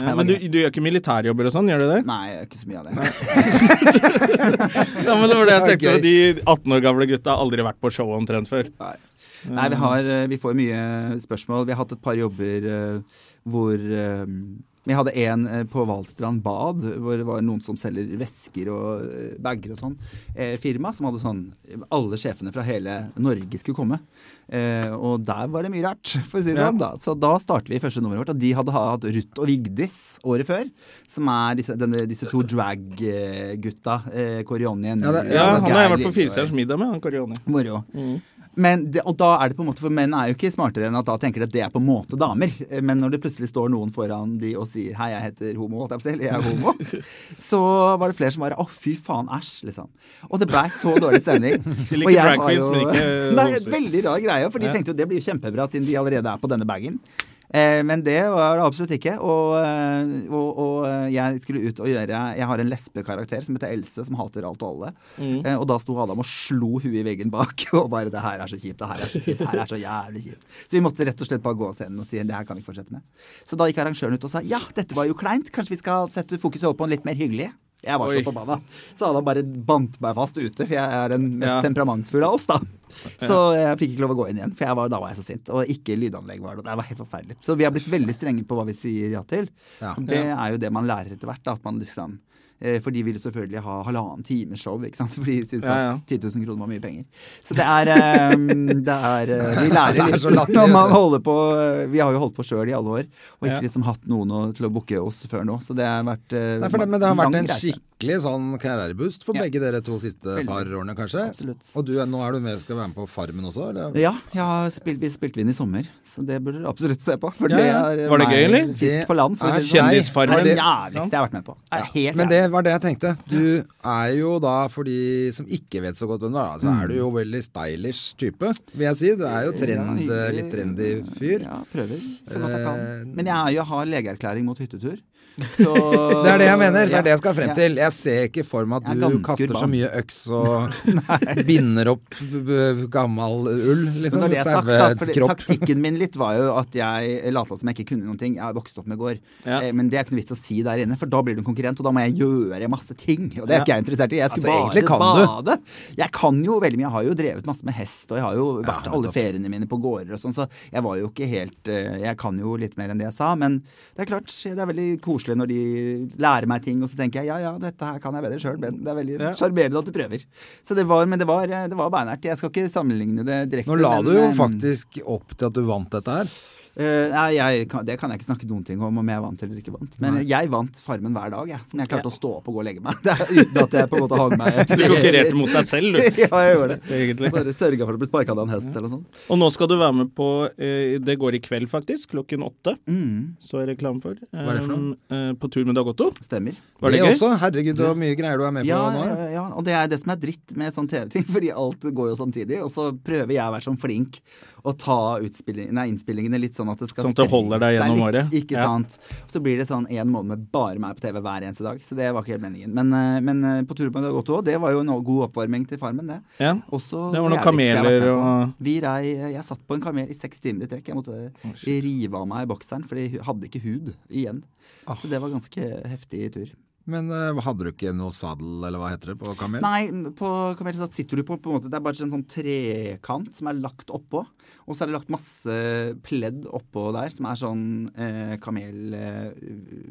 B: Ja, men du, du gjør ikke militærjobber og sånn, gjør du det?
C: Nei, jeg gjør ikke så mye av det.
B: Ja, men det var det jeg
A: Det
B: tenkte,
A: er
B: og de 18 år gamle gutta har aldri vært på show omtrent før.
C: Nei. Nei, vi, har, eh, vi får mye spørsmål. Vi har hatt et par jobber eh, hvor eh, Vi hadde en eh, på Valstrand bad, hvor det var noen som selger vesker og eh, bager og sånn. eh, Firma som hadde sånn Alle sjefene fra hele Norge skulle komme. Eh, Og der var det mye rart, for å si det
B: Ja.
C: sånn. da. Så da starter vi første nummeret vårt, og de hadde ha- hatt Ruth og Vigdis året før. Som er disse, denne, disse to eh, drag-gutta. Korionien.
A: Ja, det-
B: Ja,
A: Ja,
B: han har jeg vært på Firestjerners middag med, han Karioni.
C: Moro.
B: Mm.
C: Men det, og da er det på en måte, For menn er jo ikke smartere enn at da tenker de at det er på en måte damer. Eh, Men når det plutselig står noen foran de og sier 'hei, jeg heter homo', holdt jeg på å si, eller 'jeg er homo', så var det flere som bare 'å, fy faen, æsj', liksom. Og det blei så dårlig stemning.
B: liker
C: Og jeg
B: drag
C: har
B: queens, men ikke
C: Nei,
B: homser.
C: veldig rar greie, for de
B: Ja.
C: tenkte jo det blir jo kjempebra siden de allerede er på denne bagen. Eh, men det var det absolutt ikke. Og, eh, og, og eh, jeg skulle ut og gjøre Jeg har en lesbekarakter som heter Else, som hater alt og alle.
B: Mm.
C: Eh, og da sto Adam og slo huet i veggen bak og bare 'Det her er så kjipt, det her er så kjipt, det her er så jævlig kjipt'. Så vi måtte rett og slett bare gå av scenen og si 'Det her kan vi ikke fortsette med'. Så da gikk arrangøren ut og sa 'Ja, dette var jo kleint, kanskje vi skal sette fokuset over på en litt mer hyggelig'. Jeg var
B: Oi.
C: så forbanna. Så Adam bare bandt meg fast ute, for jeg er den mest
B: Ja.
C: temperamentsfulle av oss, da. Så jeg fikk ikke lov å gå inn igjen, for jeg var, da var jeg så sint. Og ikke lydanlegg var det. og Det var helt forferdelig. Så vi har blitt veldig strenge på hva vi sier ja til.
A: Ja.
C: Det er jo det man lærer etter hvert. Da, at man liksom eh, for de ville selvfølgelig ha halvannen times show, ikke sant? for de syntes
B: Ja, ja.
C: at 10 000 kroner var mye penger. Så det er, eh, det er eh, Vi
A: Det er
C: lærer
A: så
C: litt
A: latterlig, altså.
C: når man
A: vet du.
C: holder på eh, Vi har jo holdt på sjøl i alle år, og
B: Ja.
C: ikke liksom hatt noen å, til å booke oss før nå. Så det har vært eh,
A: Nei, for det, men det har
C: lang
A: vært en
C: reise.
A: skikkelig sånn karriereboost for
C: Ja.
A: begge dere to siste
C: Veldig.
A: par årene, kanskje.
C: Absolutt.
A: Og du, er- nå er du med, skal være med på Farmen også, eller?
C: Ja, jeg har spilt, vi spilte inn i sommer, så det burde dere absolutt se på. For
B: Ja, ja.
C: det er
B: Var det
C: meg
B: gøy, eller?
C: Fisk på land, for å
A: Nei,
C: si det sånn.
B: Kjendisfarmen.
C: Det er det
B: sant?
C: jævligste jeg har vært med på. Det er helt
A: Men
C: jævlig.
A: det var det jeg tenkte. Du er jo da, for de som ikke vet så godt hvem du er, da,
C: Mm.
A: så er du jo veldig stylish type, vil jeg si. Du er jo trend,
C: Ja, hyggelig.
A: litt trendy fyr.
C: Ja, prøver så godt jeg kan.
A: Eh,
C: Men jeg er jo- har legeerklæring mot hyttetur. Så
A: Det er det jeg mener. Det er det jeg skal frem
C: Ja.
A: til. Jeg ser ikke for meg
C: Jeg
A: at
C: er
A: du
C: ganske
A: kaster så
C: urban.
A: mye øks og binder opp b- b- gammal ull,
C: Men
A: liksom.
C: når det er sagt, da, for det-
A: Sauekropp.
C: taktikken min litt var jo at jeg lata som jeg ikke kunne noen ting. Jeg har vokst opp med gård.
B: Ja.
C: Eh, Men det er ikke noe vits å si der inne, for da blir du en konkurrent, og da må jeg gjøre masse ting. Og det er
B: Ja.
C: ikke jeg interessert i. Jeg skulle
A: Altså, egentlig
C: bare
A: kan
C: bade. Jeg kan jo veldig mye. Jeg har jo drevet masse med hest, og jeg har jo vært
A: Ja,
C: alle
A: nettopp.
C: feriene mine på gårder og sånn, så jeg var jo ikke helt eh, Jeg kan jo litt mer enn det jeg sa, men det er klart, det er veldig koselig når de lærer meg ting, og så tenker jeg ja ja, dette her kan jeg bedre sjøl, men det er
B: Ja.
C: veldig sjarmerende at du prøver. Så det var, men det var, eh, det var beinært. Jeg skal ikke sammenligne det direkte.
A: Nå la
C: men,
A: du jo
C: eh,
A: faktisk opp til at du vant dette her.
C: Eh, nei, jeg kan, det kan jeg ikke snakke noen ting om, om jeg vant eller ikke vant. Men jeg vant Farmen hver dag, jeg. Som jeg klarte å stå opp og gå og legge meg. Det er, uten at jeg på en måte hang meg
B: Du konkurrerte mot deg selv, du.
C: ja, jeg gjorde det.
B: Egentlig.
C: Bare sørga for å bli sparka av en hest eller noe sånt.
B: Og nå skal du være med på eh, Det går i kveld, faktisk. Klokken åtte.
C: Mm,
B: Så er reklame for.
A: Hva er det for noe?
B: Eh, på tur med Dag Otto.
C: stemmer.
B: Var det,
A: Det
B: gøy?
A: også. Herregud, så mye greier du er med på
C: Ja,
A: nå.
C: ja, ja, og det er det som er dritt med sånn TV-ting, fordi alt går jo samtidig. Og så prøver jeg å være sånn flink og ta utspilling- nei, innspillingene litt sånn at det skal
B: Sånn at det
C: sprenge
B: holder deg
C: seg
B: gjennom
C: litt,
B: året.
C: Ikke
B: Ja.
C: sant. Så blir det sånn en måned med bare meg på TV hver eneste dag. Så det var ikke helt meningen. Men, eh, men eh, på tur på Dag Otto, det var jo en god oppvarming til Farmen, det.
B: Ja.
C: Også
B: Det var noen
C: jævligste jeg har vært med
B: kameler
C: på.
B: og-
C: Vi rei, Jeg satt på en kamel i seks timer i trekk. Jeg måtte rive av meg bokseren, for jeg hadde ikke hud igjen.
B: Ah.
C: Så det var ganske heftig tur.
A: Men eh, hadde du ikke noe sadel, eller hva heter det, på kamel?
C: Nei, på kamel så sitter du på, på en måte, det er bare en sånn trekant som er lagt oppå. Og så er det lagt masse pledd oppå der, som er sånn eh,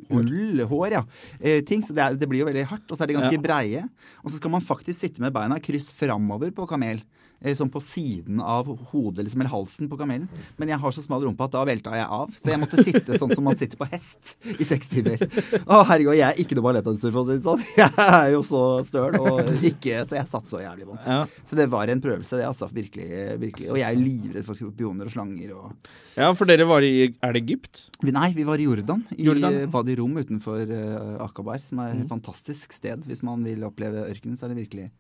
C: kamelullhår, hår, ja. Eh, ting, så det, er, det blir jo veldig hardt, og så er de ganske
B: Ja.
C: breie. Og så skal man faktisk sitte med beina kryss framover på kamel. eh, Sånn på siden av hodet liksom, eller halsen på kamelen. Men jeg har så smal rumpe at da velta jeg av. Så jeg måtte sitte sånn som man sitter på hest i seks timer. Å herregud, jeg er ikke noe ballettdanser, for å si det sånn. Jeg er jo så støl og ikke Så jeg satt så jævlig vondt.
B: Ja.
C: Så det var en prøvelse, det, altså. Virkelig. virkelig. Og jeg er jo livredd for skorpioner og slanger og
B: ja, for dere var i Er det Egypt?
C: Nei, vi var i Jordan. I
B: Jordan. Mhm.
C: eh, Wadi Rum utenfor eh, Akabar, som er et fantastisk sted. Hvis man vil oppleve ørkenen, så er det virkelig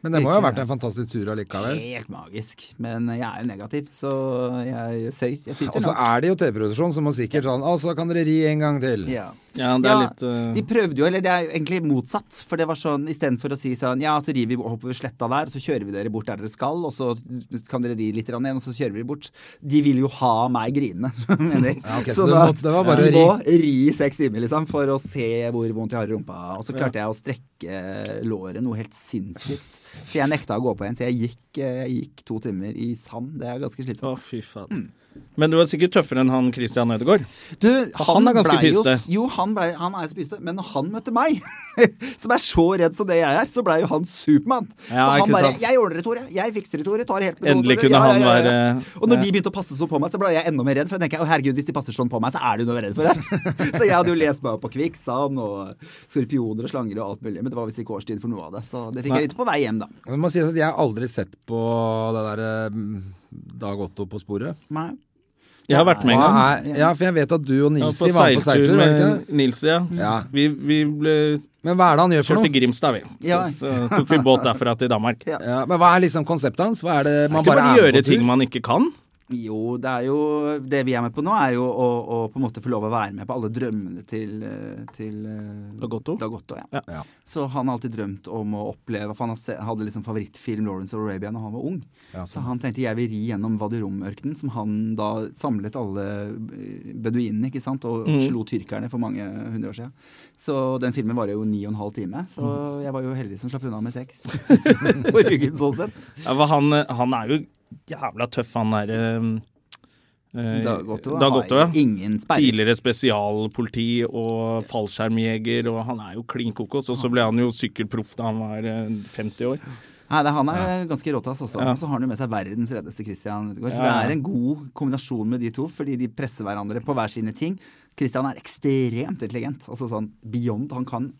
A: Men det må jo ha
C: Virkelig,
A: vært en fantastisk tur allikevel.
C: Helt magisk. Men jeg er jo negativ, så jeg søy. Jeg
A: Og
C: syter
A: så
C: nok.
A: er det jo TV-produksjon som må sikkert sånn Å, så kan dere ri en gang til.
C: Ja.
B: Ja, det er
C: Ja,
B: litt eh,
C: De prøvde jo, eller det er jo egentlig motsatt. For det var sånn, istedenfor å si sånn Ja, så rir vi oppover sletta der, og så kjører vi dere bort der dere skal, og så kan dere ri litt grann igjen, og så kjører vi bort. De vil jo ha meg grinende, mener
A: Ja, ok, så det måtte- det var bare å
C: du
A: ri.
C: må ri i seks timer, liksom, for å se hvor vondt jeg har i rumpa. Og så klarte jeg å strekke låret noe helt sinnssykt. Så jeg nekta å gå på en, så jeg gikk, eh, jeg gikk to timer i sand. Det er ganske slitsomt.
B: Å, fy faen.
A: Mm.
B: Men du er sikkert tøffere enn han Christian Ødegaard.
C: Du,
B: han er ganske
C: blei jo-
B: pyste.
C: Jo, han, blei- han er så pyste, men når han møtte meg, som er så redd som det jeg er, så blei jo han Supermann.
B: Ja,
C: så han
B: ikke
C: bare
B: sant.
C: 'Jeg ordner det, Tore. Jeg fikser det, Tore. Tar helt med
B: Endelig
C: Tore.»
B: kunne han være-
C: Og når
B: ja.
C: de begynte å passe sånn på meg, så blei jeg enda mer redd. For jeg tenker 'Å herregud, hvis de passer sånn på meg, så er du noe redd for det'. så jeg hadde jo lest meg opp på kvikksand og skorpioner og slanger og alt mulig, men det var visst ikke årstid for noe av det. Så det fikk jeg vite på vei hjem, da.
A: Jeg må si at jeg har aldri sett på det derre Dag Otto på sporet.
C: Nei.
B: Jeg har vært med en gang.
A: Hva er- Ja, for jeg vet at du og
B: Ja,
A: Nilsi var med på seiltur, var det ikke det?
B: Nils, ja.
A: Ja.
B: Vi, vi ble
A: Men hva er det han gjør for
B: kjørt til
A: noe?
B: Grimstad, vi.
C: Ja.
B: Så, så tok vi båt derfra til Danmark.
C: Ja.
A: Ja, men hva er liksom konseptet hans? Hva er det man
B: Ikke
A: bare
B: bare
A: er
B: gjøre
A: med på
B: ting
A: tur?
B: man ikke kan.
C: Jo, det er jo Det vi er med på nå, er jo å, å på en måte få lov å være med på alle drømmene til, eh, til eh,
B: Dag Otto?
C: Dag Otto, ja.
B: Ja.
A: Ja.
C: Så han har alltid drømt om å oppleve For han har se- hadde liksom favorittfilm 'Lawrence of Arabia' når han var ung.
A: Ja,
C: så
A: sånn.
C: han tenkte 'jeg vil ri gjennom Vaduromørkenen', som han da samlet alle eh, beduinene, ikke sant, og
B: Mhm.
C: slo tyrkerne for mange hundre år siden. Så den filmen varer jo ni og en halv time, så
B: Mhm.
C: jeg var jo heldig som slapp unna med sex på ryggen, sånn sett.
B: Ja, for han, eh, han er jo jævla tøff, han der eh, eh,
C: Dag Otto
B: Dag
C: har
B: Otto, ja.
C: ingen sperrer.
B: Tidligere spesialpoliti og fallskjermjeger, og han er jo klin kokos. Og så ble han jo sykkelproff da han var eh, 50 år.
C: Nei, det, Han er ganske råtass også.
B: Ja.
C: Og så har han jo med seg verdens reddeste Christian Ødegaard.
B: Ja,
C: Så
B: ja.
C: det er en god kombinasjon med de to, fordi de presser hverandre på hver sine ting. Christian er ekstremt intelligent. Altså sånn beyond. Han kan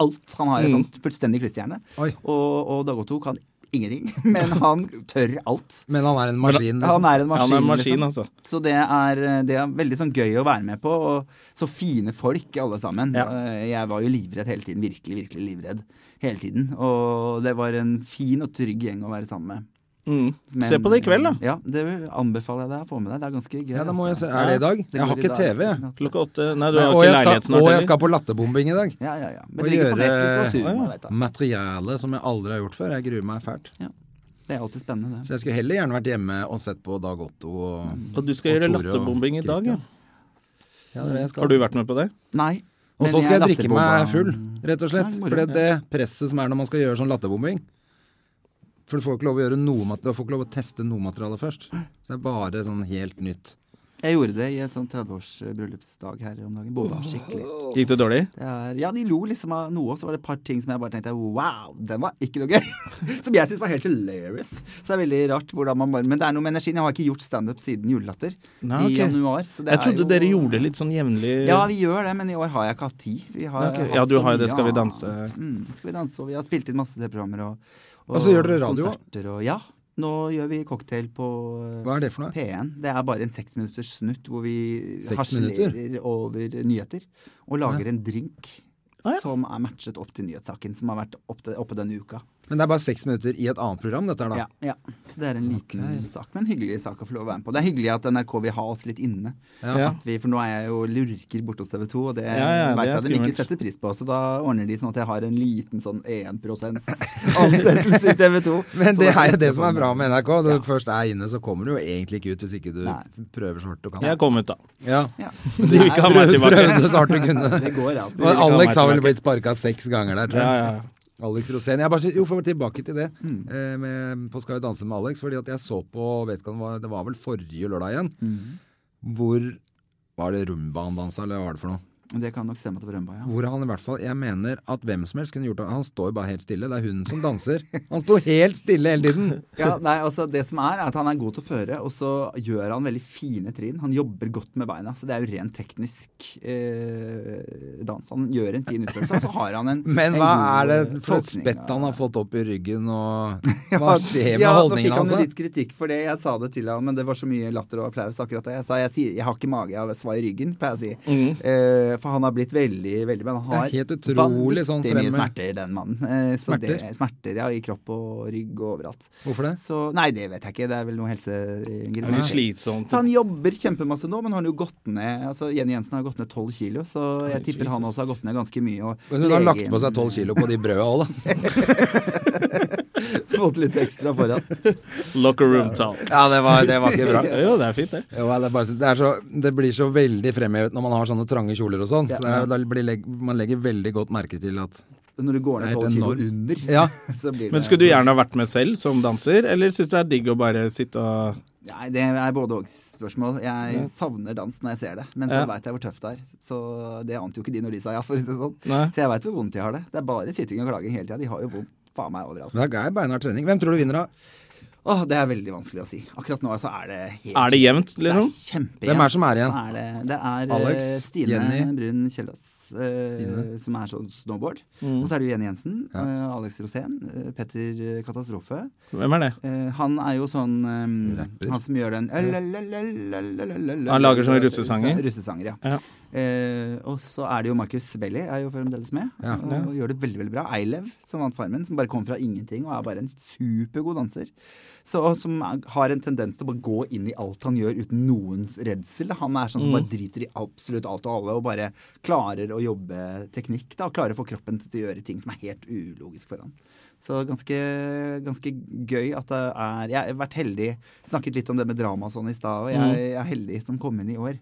C: alt. Han har et
B: Mm.
C: sånt fullstendig klisterhjerne.
A: Oi.
C: Og, og Dag Otto kan ingenting, men han tør alt.
A: Men han er en maskin.
C: Han
A: Liksom.
C: er en
B: han
C: maskin,
B: er en maskin,
C: liksom.
B: altså.
C: Så det er, det er veldig sånn gøy å være med på. Og så fine folk, alle sammen.
B: Ja.
C: Eh, Jeg var jo livredd hele tiden. Virkelig, virkelig livredd hele tiden. Og det var en fin og trygg gjeng å være sammen med.
B: Mm.
C: Men- eh,
B: Se på det i kveld, da.
C: Ja, det anbefaler jeg deg å få med deg. Det er ganske gøy.
A: Ja, da må jeg se.
C: altså.
A: Er det i dag?
C: Det
A: Jeg har
C: går i
A: ikke
C: dag.
A: TV. jeg.
B: Klokka åtte Nei, du
A: Nei,
B: har
A: og
B: ikke
A: jeg skal,
B: leilighet snart,
A: og jeg
B: eller?
A: skal på latterbombing i dag.
C: Ja, ja, ja. Men
A: Å
C: det ligger på
A: gjøre-
C: Netflix og
B: Å,
C: Sumo,
B: ja.
C: vet du.
A: Materiale som jeg aldri har gjort før. Jeg gruer meg fælt.
C: Det er alltid spennende, det.
A: Så jeg skulle heller gjerne vært hjemme og sett på Dag Otto og
B: Og du skal
A: og
B: gjøre
A: Tore og
B: latterbombing i dag, ja.
A: Christian. ja, det er det jeg skal.
B: Har du vært med på det?
C: Nei.
A: Og
C: men
A: så skal jeg drikke
C: latterbomba.
A: meg full, rett og slett.
C: Nei, moro.
A: For det presset som er når man skal gjøre sånn latterbombing For du får ikke lov å gjøre noe mat- Du får ikke lov å teste noe materiale først. Så det er bare sånn helt nytt.
C: Jeg gjorde det i en sånn 30-års eh, bryllupsdag her om dagen. Bomba skikkelig.
B: Gikk det dårlig?
C: Det er, ja, de lo liksom av noe, og så var det et par ting som jeg bare tenkte wow, den var ikke noe gøy. som jeg syns var helt hilarious. Så det er veldig rart hvordan man bare Men det er noe med energien. Jeg har ikke gjort standup siden Julelatter
B: Nei, ok.
C: i januar. Så det
B: Jeg
C: er
B: trodde
C: jo,
B: dere gjorde litt sånn jevnlig
C: Ja, vi gjør det, men i år har jeg ikke hatt tid. Vi har
B: Ok,
C: hatt
B: ja, du
C: så
B: har jo det,
C: mye
B: Skal vi
C: annet.
B: danse?
C: Mm, skal vi danse, og vi har spilt inn masse TV-programmer og,
A: Og så gjør dere radio også?
C: konserter og Ja. Nå gjør vi cocktail på eh,
A: Hva er det for noe?
C: P1. Det er bare en seksminutters snutt hvor vi
A: Seks
C: harselerer over nyheter og lager en drink som er matchet opp til nyhetssaken som har vært oppe, oppe denne uka.
A: Men det er bare seks minutter i et annet program, dette her, da.
C: Ja, ja. Så det er en liten sak, men en hyggelig sak å få lov å være med på. Det er hyggelig at NRK vil ha oss litt inne.
B: Ja.
C: At vi, for nå er jeg jo lurker borte hos TV 2, og det
B: ja, det
C: vet
B: er
C: jeg de
B: skummelt.
C: ikke setter pris på. Så da ordner de sånn at jeg har en liten sånn 1 ansettelse i TV 2.
A: Men det er jo det
C: sånn.
A: som er bra med NRK. Når du først er inne, så kommer du jo egentlig ikke ut hvis ikke du
C: Nei.
A: prøver så hardt du kan.
B: Jeg kom ut, da.
A: Ja.
C: Ja.
B: De vil ikke ha meg tilbake.
A: Prøvde så hardt du kunne.
C: Det går an.
A: Og
B: ikke ha meg
A: Alex har vel
B: tilbake.
A: blitt sparka seks ganger der, tror
B: Ja,
A: jeg.
B: ja.
A: Alex Rosén. Jeg bare, sy- jo, for å være tilbake til det,
C: Mm.
A: eh, med, på Skal vi danse med Alex. Fordi at jeg så på, vet ikke om det var, det var vel forrige lørdag igjen,
C: Mm.
A: hvor Var det rumba han dansa, eller hva var det for noe?
C: Det kan nok stemme at det var Rømba, ja.
A: Hvor han i hvert fall, jeg mener at hvem som helst kunne gjort det. Han står jo bare helt stille. Det er hun som danser. Han sto helt stille hele tiden.
C: Ja, nei, altså Det som er, er at han er god til å føre, og så gjør han veldig fine trinn. Han jobber godt med beina, så det er jo rent teknisk eh, dans. Han gjør en fin utøvelse, og så har han en
A: Men
C: en
A: hva er
C: god,
A: det
C: eh,
A: for et
C: tolkning
A: spett
C: av-
A: han har fått opp i ryggen, og hva skjer med
C: ja,
A: holdningen altså? hans?
C: Nå fikk han jo
A: da?
C: litt kritikk for det. Jeg sa det til han, men det var så mye latter og applaus akkurat da jeg sa jeg, sier, jeg har ikke mage, jeg har svai ryggen, pleier jeg å si. Eh, for han har blitt veldig, veldig Men han har
A: Mhm. Det er helt utrolig sånn
C: vanvittig mye
A: fremme.
C: smerter, den mannen. Eh, så
A: Smerter?
C: Det, smerter, ja. I kropp og rygg og overalt.
A: Hvorfor det?
C: Så, nei, det vet jeg ikke. Det er vel noe helsegreier.
B: Det er litt slitsomt.
A: Sånn-
C: Så han jobber kjempemasse nå, men han har jo gått ned altså Jenny Jensen har gått ned 12 kilo, så jeg tipper han
B: Jesus.
C: også har gått ned ganske mye. Og
A: Hun har lagt på
C: legen
A: seg tolv kilo på de brøda òg, da.
C: fått litt ekstra foran.
B: Locker room talk.
A: Ja, det var, det var ikke bra.
B: Jo, det er fint, det.
A: Jo, det, er bare, det, er så, det blir så veldig fremhevet når man har sånne trange kjoler og sånn.
C: Ja.
A: Så det er- Da blir, legg- man legger veldig godt merke til at
C: Når du går
A: Det
C: ned
A: er
C: 12 kilo
A: enormt.
C: under,
A: Ja.
C: så blir det
B: Men skulle du gjerne ha vært med selv som danser, eller syns du det er digg å bare sitte og
C: Nei, det er både og-spørsmål. Jeg savner dans når jeg ser det, men så
B: Ja.
C: vet veit jeg hvor tøft det er. Så det ante jo ikke de når de sa ja, for å si det sånn.
B: Nei.
C: Så jeg veit hvor vondt de har det. Det er bare syting og klaging hele tida. De har jo vondt faen meg overalt.
A: Men det er beinhard trening. Hvem tror du vinner, da?
C: Åh, det er veldig vanskelig å si. Akkurat nå altså, er det helt
B: Er det jevnt,
C: Det er
B: liksom?
C: kjempejevnt.
A: Hvem er det som er igjen?
C: Så er det, det er
A: Alex,
C: eh, Stine
A: Jenny.
C: Brun Kjellas, eh,
A: Stine.
C: som er sånn snowboard.
B: Mm.
C: Og så er det jo Jenny Jensen,
A: Ja.
C: eh, Alex Rosén, eh, Petter Katastrofe.
B: Hvem er det?
C: Eh, han er jo sånn ehm,
A: Rapper.
C: Han som gjør den ølalalalalalalalala-
B: Han lager sånne russesanger?
C: Russesanger, ja.
B: Ja.
C: Eh, og så er det jo Marcus Belly er jo fremdeles med.
A: Ja.
C: og, gjør det veldig veldig bra. Eilev, som vant Farmen, som bare kom fra ingenting og er bare en supergod danser. Så, og som er- har en tendens til å bare gå inn i alt han gjør uten noens redsel. Han er sånn som
A: Mm.
C: bare driter i absolutt alt og alle og bare klarer å jobbe teknikk. da, og Klarer å få kroppen til å gjøre ting som er helt ulogisk for han. Så ganske, ganske gøy at det er Jeg har vært heldig. Snakket litt om det med drama og sånn i stad, og
A: Mm.
C: jeg er heldig som kom inn i år.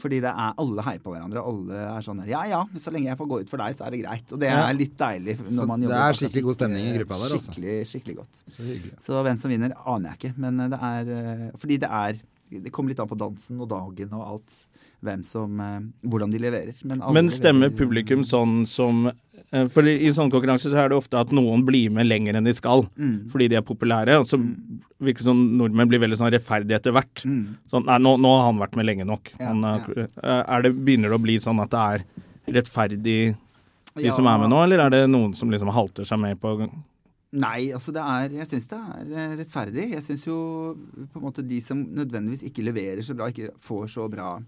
C: Fordi det er alle heier på hverandre, og alle er sånn her Ja ja, så lenge jeg får gå ut for deg, så er det greit. Og det
B: Ja.
C: er litt deilig når
A: Så
C: man
A: det
C: jobber.
A: er
C: i
A: skikkelig god stemning i gruppa der, altså.
C: Skikkelig, skikkelig godt.
A: Så hyggelig.
C: Så hvem som vinner, aner jeg ikke. Men det er eh, Fordi det er Det kommer litt an på dansen og dagen og alt. Hvem som eh, Hvordan de leverer. Men, alle
B: Men stemmer
C: leverer-
B: publikum sånn som eh, For i sånne konkurranser så er det ofte at noen blir med lenger enn de skal,
C: Mm.
B: fordi de er populære. Og så virker det som nordmenn blir veldig sånn rettferdige etter hvert. Sånn, nei, nå, nå har han vært med lenge nok.
C: Mm. Ja,
B: han, eh,
C: ja.
B: eh, er det, begynner det å bli sånn at det er rettferdig de
C: Ja.
B: som er med nå, eller er det noen som liksom halter seg med på
C: Nei, altså det er Jeg syns det er eh, rettferdig. Jeg syns jo på en måte de som nødvendigvis ikke leverer så bra, ikke får så bra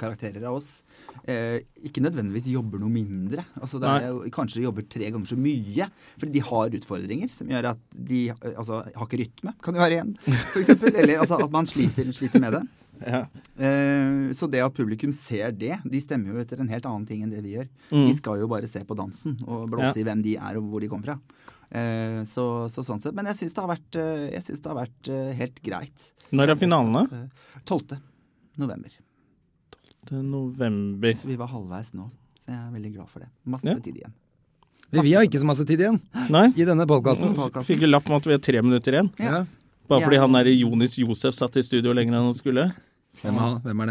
C: karakterer av oss, eh, ikke nødvendigvis jobber noe mindre. Altså det
B: Nei.
C: er jo, kanskje de jobber tre ganger så mye, fordi de har utfordringer som gjør at de eh, altså, har ikke rytme, kan jo være igjen, f.eks. Eller altså, at man sliter, sliter med det.
B: ja.
C: Eh, Så det at publikum ser det De stemmer jo etter en helt annen ting enn det vi gjør. Vi skal jo bare se på dansen og blåse
B: Mm. Ja.
C: i hvem de er og hvor de kommer fra. Eh, Så, så sånn sett. Men jeg syns det har vært, eh, jeg synes det har vært eh, helt greit.
B: Når er finalene?
C: Eh, 12. november.
B: Til november.
C: Så vi var halvveis nå. Så jeg er veldig glad for det. Masse
B: Ja.
C: tid igjen.
A: Men Vi har ikke så masse tid igjen
B: Nei?
A: i denne podkasten.
C: Podcasten.
B: Fikk jo lapp om at vi har tre minutter igjen.
A: Ja.
B: Bare fordi
C: Ja.
B: han der Jonis Josef satt i studio lenger enn han skulle.
A: Hvem, er han? Hvem er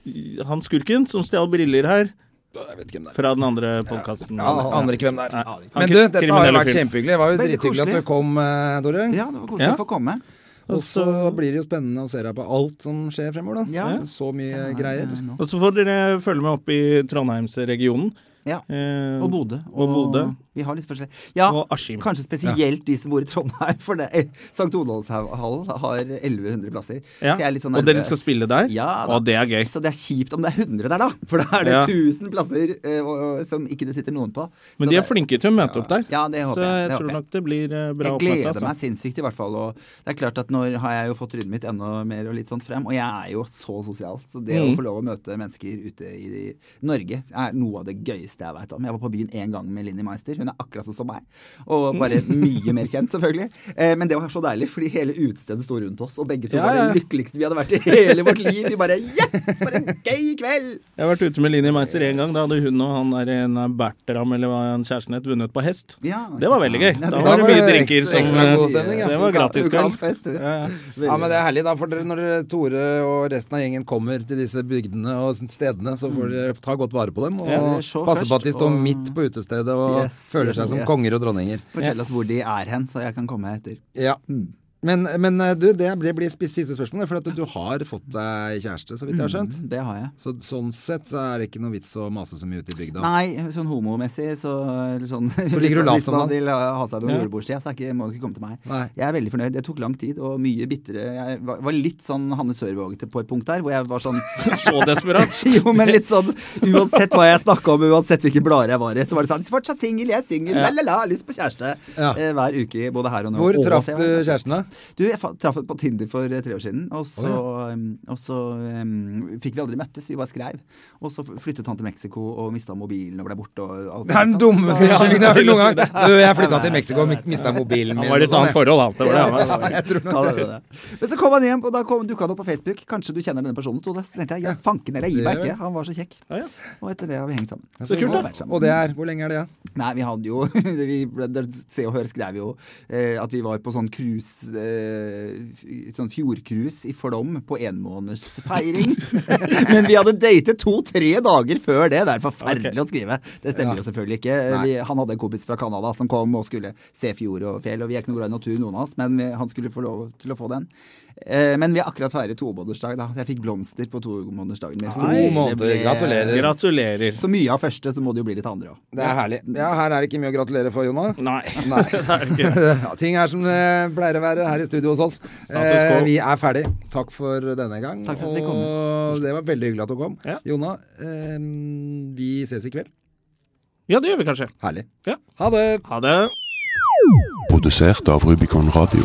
A: det?
B: Han skurken som stjal briller her
A: Jeg vet ikke hvem det er.
B: fra den andre podkasten.
A: Ja, aner ikke hvem det er.
B: Nei.
A: Men du, dette har jo
B: Kriminelle
A: vært
B: fyren.
A: kjempehyggelig. Det var jo
C: Veldig
A: drithyggelig at
C: koselig.
A: du kom, eh, Dorung.
C: Ja, det var koselig
B: Ja.
C: å få komme.
A: Og så blir det jo spennende å se deg på alt som skjer fremover, da.
C: Ja.
A: Så mye greier.
C: Ja, nå.
B: Og så får dere følge med opp i Trondheimsregionen.
C: Ja.
B: Eh,
C: Og Bodø.
B: Og Bodø.
C: Vi har litt forskjellig. Ja,
B: Og Askim.
C: kanskje spesielt de som bor i Trondheim. For det, St. Olavshallen har 1100 plasser.
B: Ja.
C: Så jeg er litt sånn
B: og dere
C: nervøs.
B: skal spille der?
C: Ja, da.
B: og det er gøy.
C: Så det er kjipt om det er 100 der, da. For da er det
B: Ja.
C: 1000 plasser eh, og, og, som ikke det sitter noen på.
B: Men
C: Så
B: de
C: det-
B: er flinke til å møte opp der,
C: Ja, det håper
B: så
C: jeg,
B: jeg
C: det
B: tror
C: håper jeg.
B: nok det blir eh, bra
C: Jeg
B: oppmøte.
C: gleder meg
B: Altså.
C: sinnssykt, i hvert fall. Og det er klart at nå har jeg jo fått ryddet mitt enda mer og litt sånn frem, og jeg er jo så sosial. Så det å
B: Mm.
C: få lov å møte mennesker ute i Norge er noe av det gøyeste jeg veit om. Jeg var på byen én gang med Linni Meister. Hun er akkurat sånn som meg. Og
B: Mm.
C: bare mye mer kjent, selvfølgelig. Eh, men det var så deilig, fordi hele utestedet sto rundt oss, og begge to
B: Ja,
C: var
B: ja.
C: det lykkeligste vi hadde vært i hele vårt liv. Vi bare Yes! For en gøy kveld!
B: Jeg har vært ute med Linni Meister én gang. Da hadde hun og han der en av Bertram eller hva han kjæresten het, vunnet på hest.
C: Ja,
B: Det var veldig gøy.
C: Ja,
B: Da var det mye
A: ekstra-
B: drinker som
A: ekstra god
B: eh,
A: stemning, ja.
B: Det var gratis kveld.
C: Lokalfest, du.
B: Ja, ja.
A: Ja, men det er herlig, da. For dere, når dere, Tore og resten av gjengen kommer til disse bygdene og stedene, så får dere ta godt vare på dem. Og
B: Ja,
C: dere så
A: passe på
C: først,
A: at de står
C: og-
A: midt på utestedet og
C: Yes,
A: føler
C: yes,
A: seg som
C: yes.
A: konger og dronninger.
C: Fortell oss hvor de er hen, så jeg kan komme etter.
A: Ja. Men, men eh, du, det blir, blir sp- siste spørsmål, for at du har fått deg kjæreste, så vidt jeg har skjønt.
C: Mm, Det har jeg.
A: Så, sånn sett så er det ikke noe vits å mase så mye ute i bygda.
C: Nei, sånn homomessig så, eller sånn,
A: Så ligger du lavt
C: Hvis man
A: som han.
C: vil ha ha seg noen
B: Ja.
C: julebordstid, så er ikke, må du ikke komme til meg.
A: Nei.
C: Jeg er veldig fornøyd. Det tok lang tid og mye bitre Jeg var, var litt sånn Hanne Sørvågete på et punkt der, hvor jeg var sånn
B: Så desperat.
C: Jo, men litt sånn Uansett hva jeg snakka om, uansett hvilke blader jeg var i, så var det sånn Fortsatt singel, jeg er singel, la-la-la, lyst på kjæreste.
A: Ja.
C: Eh, Hver uke, både her og nå.
A: Hvor
C: Og
A: traff
C: se-
A: du kjæresten, da?
C: Du, jeg fa- traff henne på Tinder for eh, tre år siden, og så,
A: Å,
C: em, og så em, fikk vi aldri møttes, vi bare skrev. Og så f- flyttet han til Mexico og mista mobilen og ble borte og alt. sånn.
A: Det er den
C: sånt.
A: dummeste
B: Ja,
A: unnskyldningen jeg har hørt
B: jeg
A: noen
B: vil
A: gang! Du, jeg flytta til Mexico og sånn. mista mobilen min.
B: Han var i et annet forhold, han. Det var det, han var.
A: Ja, jeg tror
C: Ja,
A: nok
C: det
A: det.
C: var det. Men så kom han hjem, og da kom- dukka han opp på Facebook. Kanskje du kjenner denne personen? sto det. Så tenkte jeg ja, fanken eller jeg gir meg
A: Det gjør
C: ikke. Han var så kjekk.
B: Ja, ja.
C: Og etter det har vi hengt sammen.
B: Så kult, da.
C: vært sammen.
A: Og det er Hvor lenge er det, da?
C: Nei, vi hadde jo vi, ble- der Se og Hør skrev jo eh, at vi var på sånn cruise eh, f- Sånn fjordcruise i Flom på enmånedsfeiring. Men vi hadde datet to-tre dager før det. Det er forferdelig
B: Ok.
C: å skrive. Det stemmer jo selvfølgelig ikke. Eh, Vi, han hadde en kompis fra Canada som kom og skulle se fjord og fjell, og vi er ikke noe glad i natur, noen av oss, men vi, han skulle få lov til å få den. Eh, men vi har akkurat feiret tomånedersdag, da. Jeg fikk blomster på tomånedersdagen min.
A: To måneder. Gratulerer.
B: Gratulerer.
C: Så mye av første, så må det jo bli litt andre òg.
A: Det er herlig. Ja, her er det ikke mye å gratulere for, Jonas.
B: Nei.
A: Nei.
B: Det er jo ikke
A: Ja, ting er som det pleier å være her i studio hos oss.
B: quo.
A: Eh, vi er ferdig. Takk for denne gang.
C: Takk for at vi kom.
A: og det var veldig hyggelig at du kom.
B: Ja.
A: Jonna, eh, vi ses i kveld.
B: Ja, det gjør vi kanskje.
A: Herlig.
B: Ja.
A: Ha det!
B: Ha det.
D: Produsert av Rubicon Radio.